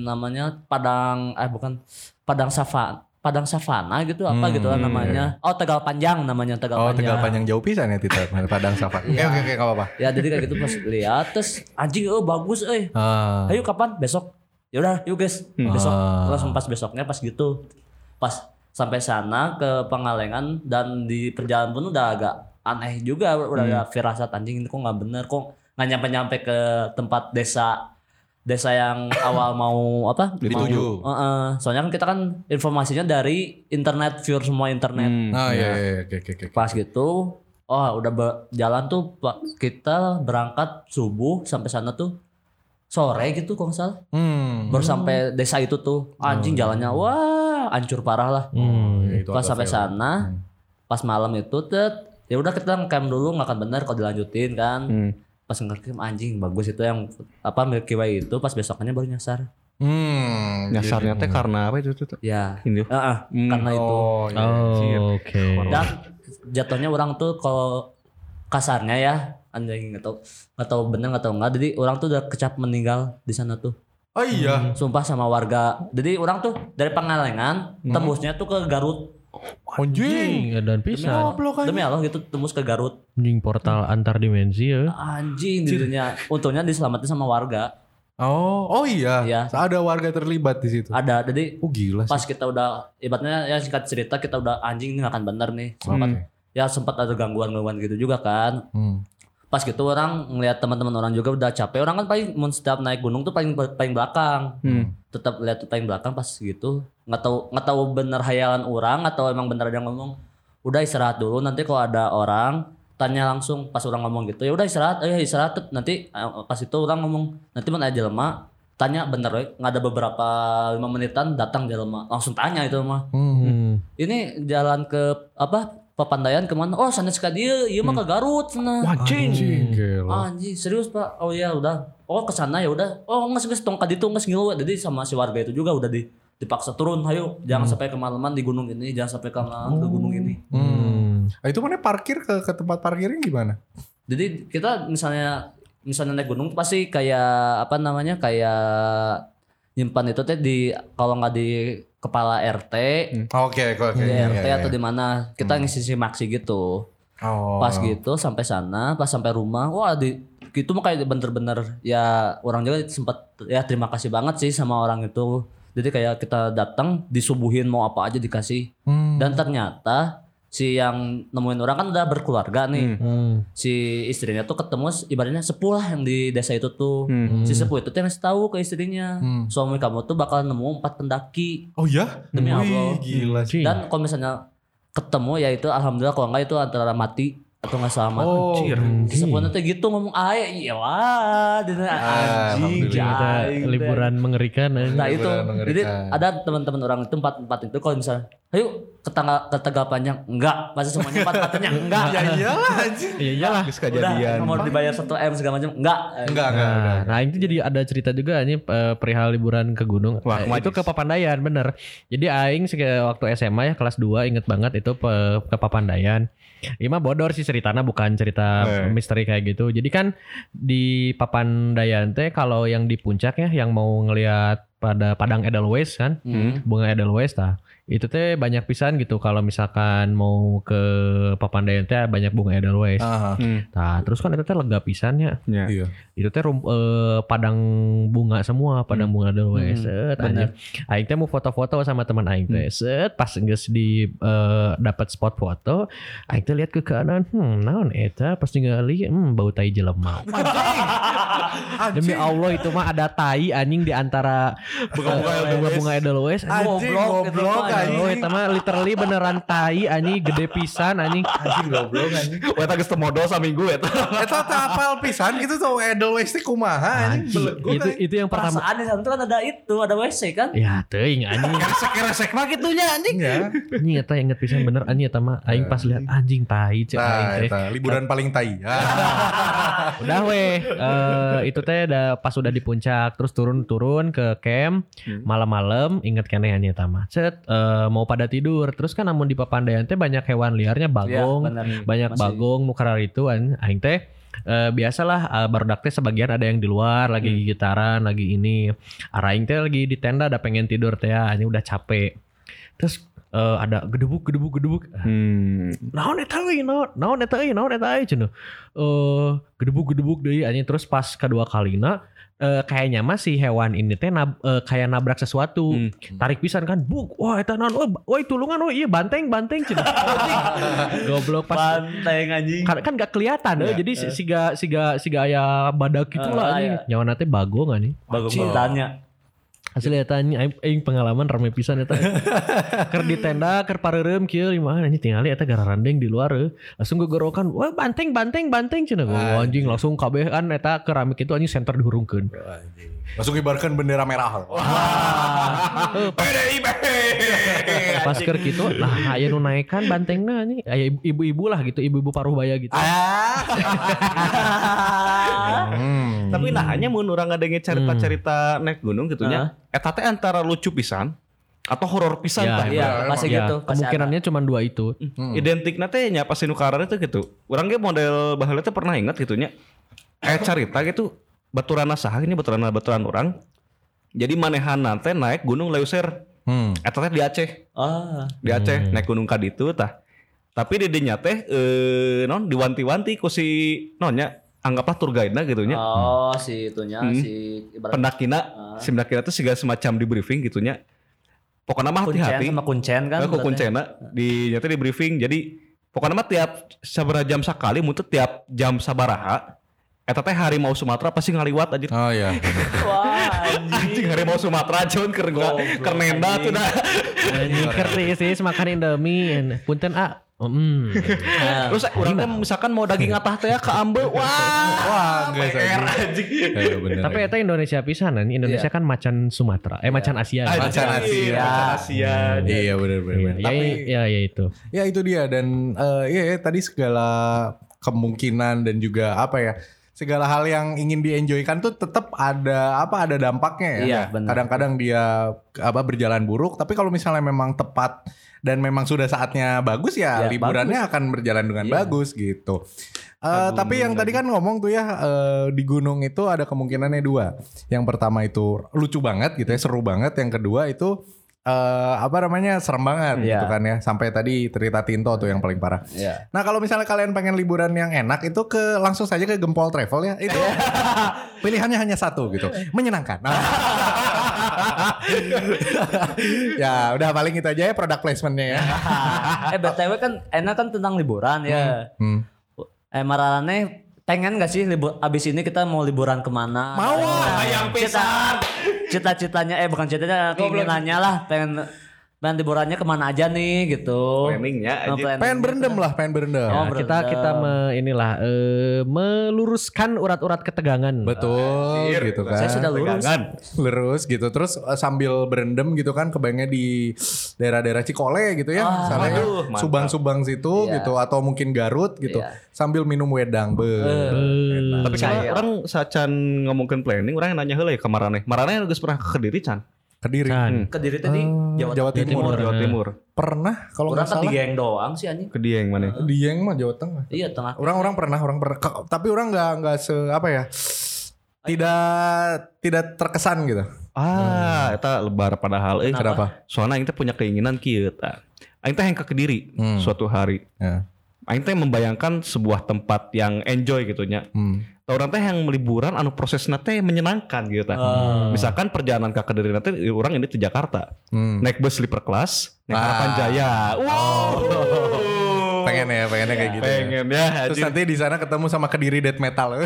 S4: namanya padang eh bukan padang savan padang savana gitu apa gitu lah namanya oh tegal panjang namanya tegal
S3: Hmm, iya, Oh,
S4: panjang
S3: tegal panjang jauh pisan ya Tita Padang Safa. Iya, Oke, oke, oke, nggak apa-apa.
S4: ya jadi kayak gitu pas lihat terus anjing oh bagus eh
S3: Ah.
S4: Ayo kapan? Besok. Ya udah, yuk guys.
S3: Hmm.
S4: Besok. Terus pas besoknya pas gitu. Pas sampai sana ke Pangalengan dan di perjalanan pun udah agak aneh juga udah ada firasat anjing ini kok nggak bener kok nggak nyampe nyampe ke tempat desa desa yang awal mau apa
S3: Dituju.
S4: mau, Heeh. soalnya kan kita kan informasinya dari internet view semua internet
S3: Ah,
S5: Nah.
S3: iya, iya, iya, oke, oke, oke.
S4: pas gitu oh udah be- jalan tuh Pak. kita berangkat subuh sampai sana tuh sore gitu kalau nggak salah
S3: Hmm.
S4: baru sampai desa itu tuh anjing jalannya wah hancur parah lah
S3: Ya, Oh, iya. itu agak
S4: pas Hmm.
S3: Hmm.
S4: sampai
S3: fail.
S4: sana pas malam itu tet ya udah kita ngecamp dulu nggak akan bener kalau dilanjutin kan
S3: Hmm.
S4: pas ngecamp anjing bagus itu yang apa Milky Way itu pas besoknya baru nyasar
S3: Hmm.
S5: Nyasarnya teh karena apa itu tuh?
S4: ya
S5: Ini. Hmm.
S4: Ah, ah, karena itu
S3: Oh, iya.
S2: Oh, oke.
S4: dan jatuhnya orang tuh kalau kasarnya ya anjing nggak tahu nggak tahu bener nggak tahu nggak jadi orang tuh udah kecap meninggal di sana tuh
S3: Oh iya.
S4: sumpah sama warga jadi orang tuh dari Pangalengan
S3: Hmm.
S4: tembusnya tuh ke Garut
S3: Anjing.
S2: Anjing, dan pisah.
S4: Demi Allah gitu tembus ke Garut.
S2: Anjing portal antar dimensi ya.
S4: Anjing dirinya. Untungnya diselamatin sama warga.
S3: Oh, oh iya.
S4: Iya.
S3: Ada warga terlibat di situ.
S4: Ada. Jadi
S3: Oh gila sih.
S4: pas kita udah ibaratnya ya singkat cerita kita udah anjing ini gak akan bener nih. Sempat,
S5: Hmm.
S3: Oke.
S4: Ya sempat ada gangguan-gangguan gitu juga kan.
S3: Hmm.
S4: Pas gitu orang ngelihat teman-teman orang juga udah capek. Orang kan paling mun setiap naik gunung tuh paling paling belakang. Tetap lihat paling belakang pas gitu. Nggak tahu nggak tahu bener hayalan orang atau emang bener ada yang ngomong. Udah istirahat dulu nanti kalau ada orang tanya langsung pas orang ngomong gitu. Ya udah istirahat, eh istirahat Tut." nanti eh, pas itu orang ngomong nanti mana ada jelema tanya bener we. nggak ada beberapa lima menitan datang jelema langsung tanya itu mah
S2: Hmm.
S4: ini jalan ke apa Papandayan kemana oh sana sekali dia iya mah ke Garut sana
S3: Anjing. Gila.
S4: Anjing serius pak? Oh ya udah. Oh kesana ya udah. Oh nggak nggak tongkat itu nggak ngilu. Jadi sama si warga itu juga udah di dipaksa turun. Ayo jangan
S3: Hmm.
S4: sampai kemalaman di gunung ini, jangan sampai kemalaman ke
S3: Oh.
S4: gunung ini.
S2: Hmm.
S3: Ah, Itu mana parkir ke, ke tempat parkirnya gimana?
S4: Jadi kita misalnya misalnya naik gunung pasti kayak apa namanya kayak nyimpan itu teh di kalau nggak di kepala RT,
S3: Oke, oke, oke.
S4: di
S3: Iya,
S4: RT
S3: iya,
S4: atau
S3: iya.
S4: Hmm. di mana kita ngisi si maksi gitu.
S3: Oh.
S4: Pas gitu sampai sana, pas sampai rumah, wah di gitu mah kayak bener-bener ya orang juga sempat ya terima kasih banget sih sama orang itu. Jadi kayak kita datang disubuhin mau apa aja dikasih.
S3: Hmm.
S4: Dan ternyata si yang nemuin orang kan udah berkeluarga nih.
S2: Hmm.
S4: Si istrinya tuh ketemu s- ibaratnya sepuh lah yang di desa itu tuh.
S5: Hmm.
S2: Hmm.
S4: Si sepuh itu tuh yang ngasih tahu ke istrinya,
S3: Hmm.
S4: suami kamu tuh bakal nemu empat pendaki.
S3: Oh ya?
S4: Demi
S3: Wih,
S4: Allah.
S3: Gila sih.
S2: Anjing.
S4: Dan kalau misalnya ketemu ya itu alhamdulillah kalau enggak itu antara mati atau nggak selamat.
S3: Oh.
S2: Anjing.
S4: Sebenarnya teh gitu ngomong ae iya wah dia teh anjing
S3: Alhamdulillah.
S2: Ternyata
S4: jaing, teh.
S2: liburan mengerikan anjing.
S4: Nah itu
S3: Liburan mengerikan.
S4: jadi ada teman-teman orang itu empat empat itu kalau misalnya ayo ketangga ketanggapannya enggak masa semuanya empat empatnya enggak
S3: Iya,
S1: Ya iyalah anjing.
S2: Iya iyalah.
S5: Terus
S4: udah
S5: kejadian.
S4: mau dibayar satu m segala macam enggak
S1: Enggak, enggak, enggak.
S2: Nah, nah itu jadi ada cerita juga ini eh, perihal liburan ke gunung.
S5: Wah,
S2: Eh,
S5: kemarin.
S2: itu ke Papandayan bener. Jadi aing seke- waktu SMA ya kelas 2 inget banget itu pe- ke Papandayan. Ima bodor sih ceritanya bukan cerita
S5: Eh.
S2: misteri kayak gitu. Jadi kan di Papandayan teh kalau yang di puncaknya yang mau ngelihat pada padang edelweiss kan
S4: Hmm.
S2: bunga edelweiss tah itu teh banyak pisan gitu kalau misalkan mau ke Papandayan teh banyak bunga
S1: Ah.
S2: edelweiss.
S3: Aha.
S5: Hmm.
S2: Nah, terus kan itu teh lega pisannya.
S5: Ya.
S3: Iya.
S2: Itu teh rum- eh, padang bunga semua, padang bunga edelweiss. Set anjing. Aing teh mau foto-foto sama teman aing teh. Set pas geus di eh, dapat spot foto, aing teh lihat ke kanan, hmm naon eta pas ningali hmm bau tai jelema. Demi Allah itu mah ada tai anjing di antara
S5: Bunga-bunga
S2: eh, bunga-bunga edelweiss. Anjing,
S3: Anjing
S4: Goblok, itu
S3: goblok
S2: Oh,
S4: mah,
S3: anjing.
S2: itu mah literally beneran tai anjing gede pisan anjing.
S1: Anjing goblok anjing.
S5: Weta geus temodo ya. saminggu eta.
S3: Eta teh Eh, apal pisan gitu tuh Edelweiss teh kumaha anjing.
S2: Anjing,
S3: Belegu
S2: Itu
S3: teh.
S2: itu yang pertama.
S4: perasaan di sana tuh kan ada itu ada wc kan
S2: Ya teuing anjing.
S5: Resek-resek mah kitunya anjing.
S3: Ya.
S2: Anjing eta inget pisan bener anjing eta mah aing pas lihat anjing tai cek aing
S3: Nah,
S2: teh.
S3: eta liburan paling tai. Ah.
S2: Udah weh eh, itu teh ada pas udah di puncak terus turun-turun ke camp malam-malam kan inget kene anjing eta mah. Cet eh, mau pada tidur terus kan namun di Papandayan teh banyak hewan liarnya
S4: Iya,
S2: bagong banyak bagong mukarar itu an- aing teh eh, biasalah eh, barudak teh sebagian ada yang di luar lagi gitaran lagi ini Ara aing teh lagi di tenda ada pengen tidur teh hanya udah capek terus eh, ada gedebuk gedebuk gedebuk
S5: Hmm.
S2: naon eta euy naon naon eta euy naon eta euy cenah eh gedebuk gedebuk deui anjing terus pas kedua kalina eh, kayaknya mah si hewan ini teh nab- eh, kayak nabrak sesuatu
S5: Hmm.
S2: tarik pisan kan buk wah eta naon wah ba- wah tulungan wah iya banteng banteng cenah goblok pas
S4: pantai anjing
S2: kan, kan gak kelihatan eh, jadi si- siga siga siga aya badak gitu
S4: Eh,
S2: lah anjing
S4: aya.
S2: nyawa nate bagong anjing
S4: bagong
S3: Anjing.
S4: tanya
S2: Asli eta anjing aing- aing pengalaman rame pisan eta. Ker di tenda, ker pareureum kieu limaan anjing tingali eta gararandeng di luar eh. Langsung gogorokan, wah banteng banteng banteng cenah. Wah, anjing langsung kabeh kan eta keramik itu anjing center dihurungkeun.
S3: Langsung ibarkan bendera merah. PDIP.
S2: Pas keur kitu, nah aya nu naikkan bantengna anjing. Aya ibu- ibu-ibu lah gitu, ibu-ibu paruh baya gitu.
S3: Hmm.
S5: Tapi nah hanya mun urang ngadenge cerita-cerita naik gunung gitu nya. Eta teh antara lucu pisan atau horor pisan
S2: Ya,
S5: tah.
S4: iya pasti
S2: Ya,
S4: gitu pasti
S2: kemungkinannya cuma dua itu.
S3: Hmm.
S5: Identikna teh nya pas nu karana teh gitu. Urang ge model baheula teh pernah ingat gitu nya. Eh cerita gitu baturana saha ini baturana baturan urang. Jadi manehana teh naik gunung Leuser.
S3: Hmm.
S5: Eta teh di Aceh.
S4: ada. ah
S5: di Aceh naik gunung kaditu tah tapi dedenya teh eh, non diwanti-wanti ku si nonnya anggaplah tour guide-na gitu nya
S4: oh si itunya si ibarat Ah,
S5: pendakina si pendakina tuh siga semacam di briefing gitu nya pokoknya mah
S4: kuncen
S5: hati-hati
S4: sama kuncen kan
S5: kan ku
S4: ibaratnya.
S5: kuncena di nyata di briefing jadi pokoknya mah tiap sabaraha jam sakali muntut tiap jam sabaraha eta teh harimau Sumatera pasti ngaliwat anjir
S3: Oh iya.
S4: wah
S5: anjing
S4: anjing
S5: harimau Sumatera John keur gua-
S4: Goblok,
S5: keur nenda
S4: anjing.
S5: tuh dah
S2: Anjing kerti sih makan Indomie. Punten A. Mm.
S4: Nah,
S5: terus urang teh misalkan mau daging atah teh ya ke ambe wah
S3: Wah, guys.
S5: PR
S3: anjing.
S5: anjing
S3: Iya, bener.
S2: Tapi eta Indonesia pisan anjing. Indonesia kan macan Sumatera. Eh macan
S5: Ah,
S2: Asia. ya.
S3: Macan Asia.
S5: Iya, Macan Asia.
S3: Iya benar benar.
S2: Ya,
S3: Tapi
S2: ya, ya itu.
S3: ya itu dia dan eh, ya, ya, tadi segala kemungkinan dan juga apa ya segala hal yang ingin dienjoykan tuh tetap ada apa ada dampaknya ya.
S4: Iya, benar.
S3: Kadang-kadang dia apa berjalan buruk, tapi kalau misalnya memang tepat dan memang sudah saatnya bagus ya,
S4: Ya, Iya.
S3: liburannya akan berjalan dengan bagus gitu. Eh, tapi yang tadi kan ngomong tuh ya eh, di gunung itu ada kemungkinannya dua. Yang pertama itu lucu banget gitu ya, seru banget. Yang kedua itu eh apa namanya serem banget
S4: Iya.
S3: gitu kan ya. Sampai tadi cerita Tinto tuh yang paling parah.
S4: ya
S3: Nah kalau misalnya kalian pengen liburan yang enak itu ke langsung saja ke Gempol Travel ya. Itu pilihannya hanya satu gitu, menyenangkan. Nah. ya udah paling itu aja ya produk placementnya ya.
S4: eh btw kan enak kan tentang liburan ya
S3: Hmm.
S4: eh marane pengen gak sih libur abis ini kita mau liburan kemana
S3: Mau,
S4: Nah,
S5: ah.
S3: hayang
S4: cita- cita-citanya eh bukan cita-citanya keinginannya lah pengen main liburannya kemana aja nih gitu.
S5: planningnya aja.
S4: Nah, planning
S3: Pengen berendam lah, pengen berendam.
S2: Nah,
S4: Oh,
S2: kita
S4: berendam.
S2: kita me, inilah eh, meluruskan urat-urat ketegangan.
S3: Betul
S5: Anjir,
S3: gitu kan.
S4: Saya sudah lurus.
S5: Pegangan.
S3: Lurus gitu. Terus eh, sambil berendam gitu kan kebayangnya di daerah-daerah Cikole gitu ya. misalnya ya.
S5: Waduh, mantap.
S3: Subang-subang situ
S4: Iya.
S3: gitu atau mungkin Garut gitu.
S4: Iya.
S3: Sambil minum wedang. Be.
S2: Eh,
S5: Tapi kan orang sacan ngomongin planning, orang yang nanya heula ya ke Marane. Marane geus pernah ke Kediri can.
S3: Kediri.
S2: San.
S4: Kediri tadi
S3: Eh,
S4: Jawa,
S3: Jawa
S2: Timur.
S3: Timur.
S5: Jawa
S2: Nah.
S5: Timur.
S3: Pernah kalau
S4: Orang
S3: nggak
S4: tadi
S3: salah.
S4: geng doang sih anjing.
S5: Ke Dieng mana?
S3: Dieng mah Jawa Tengah.
S4: Iya tengah.
S3: Orang-orang pernah, orang pernah. Ke- Tapi orang nggak nggak se apa ya? Tidak tidak terkesan gitu.
S5: Ah, eta lebar padahal eh
S3: Kenapa?
S5: soalnya aing teh punya keinginan kieu tah. Aing teh yang ke Kediri
S3: Hmm.
S5: suatu hari.
S3: Ya.
S5: Aing teh membayangkan sebuah tempat yang enjoy gitu nya.
S3: Hmm.
S5: Tah Orang teh yang liburan anu prosesnya teh menyenangkan gitu tah.
S3: Ah.
S5: Misalkan perjalanan ke Kediri nanti orang ini ke Jakarta.
S3: Hmm.
S5: Naik bus sleeper class, naik
S3: Ah.
S5: Harapan Jaya. Wow.
S3: Pengen ya, pengennya kayak gitu. ya.
S5: Pengen ya.
S3: Terus Ah.
S5: anjir.
S3: nanti di sana ketemu sama Kediri Death Metal.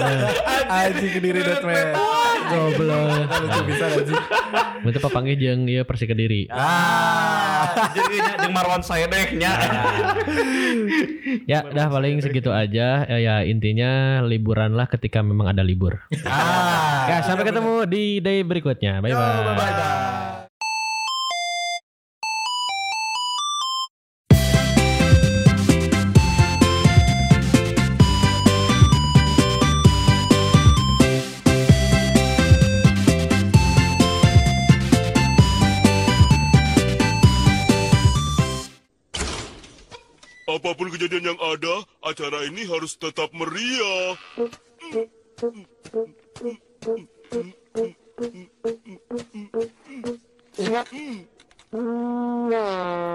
S5: Ah.
S3: Aji Kediri Death Metal.
S2: Goblok.
S3: Lucu bisa Aji.
S2: Itu papanggih jeung ieu Persi Iya, Kediri.
S5: Ya,
S3: Ah.
S5: Jadi nya jeung Marwan Saedeknya.
S2: Ya, dah paling segitu aja. Ya, ya intinya liburanlah ketika memang ada libur.
S3: Ah.
S2: Ya, sampai ketemu di day berikutnya. Bye bye.
S6: Apapun kejadian yang ada, acara ini harus tetap meriah. Oh,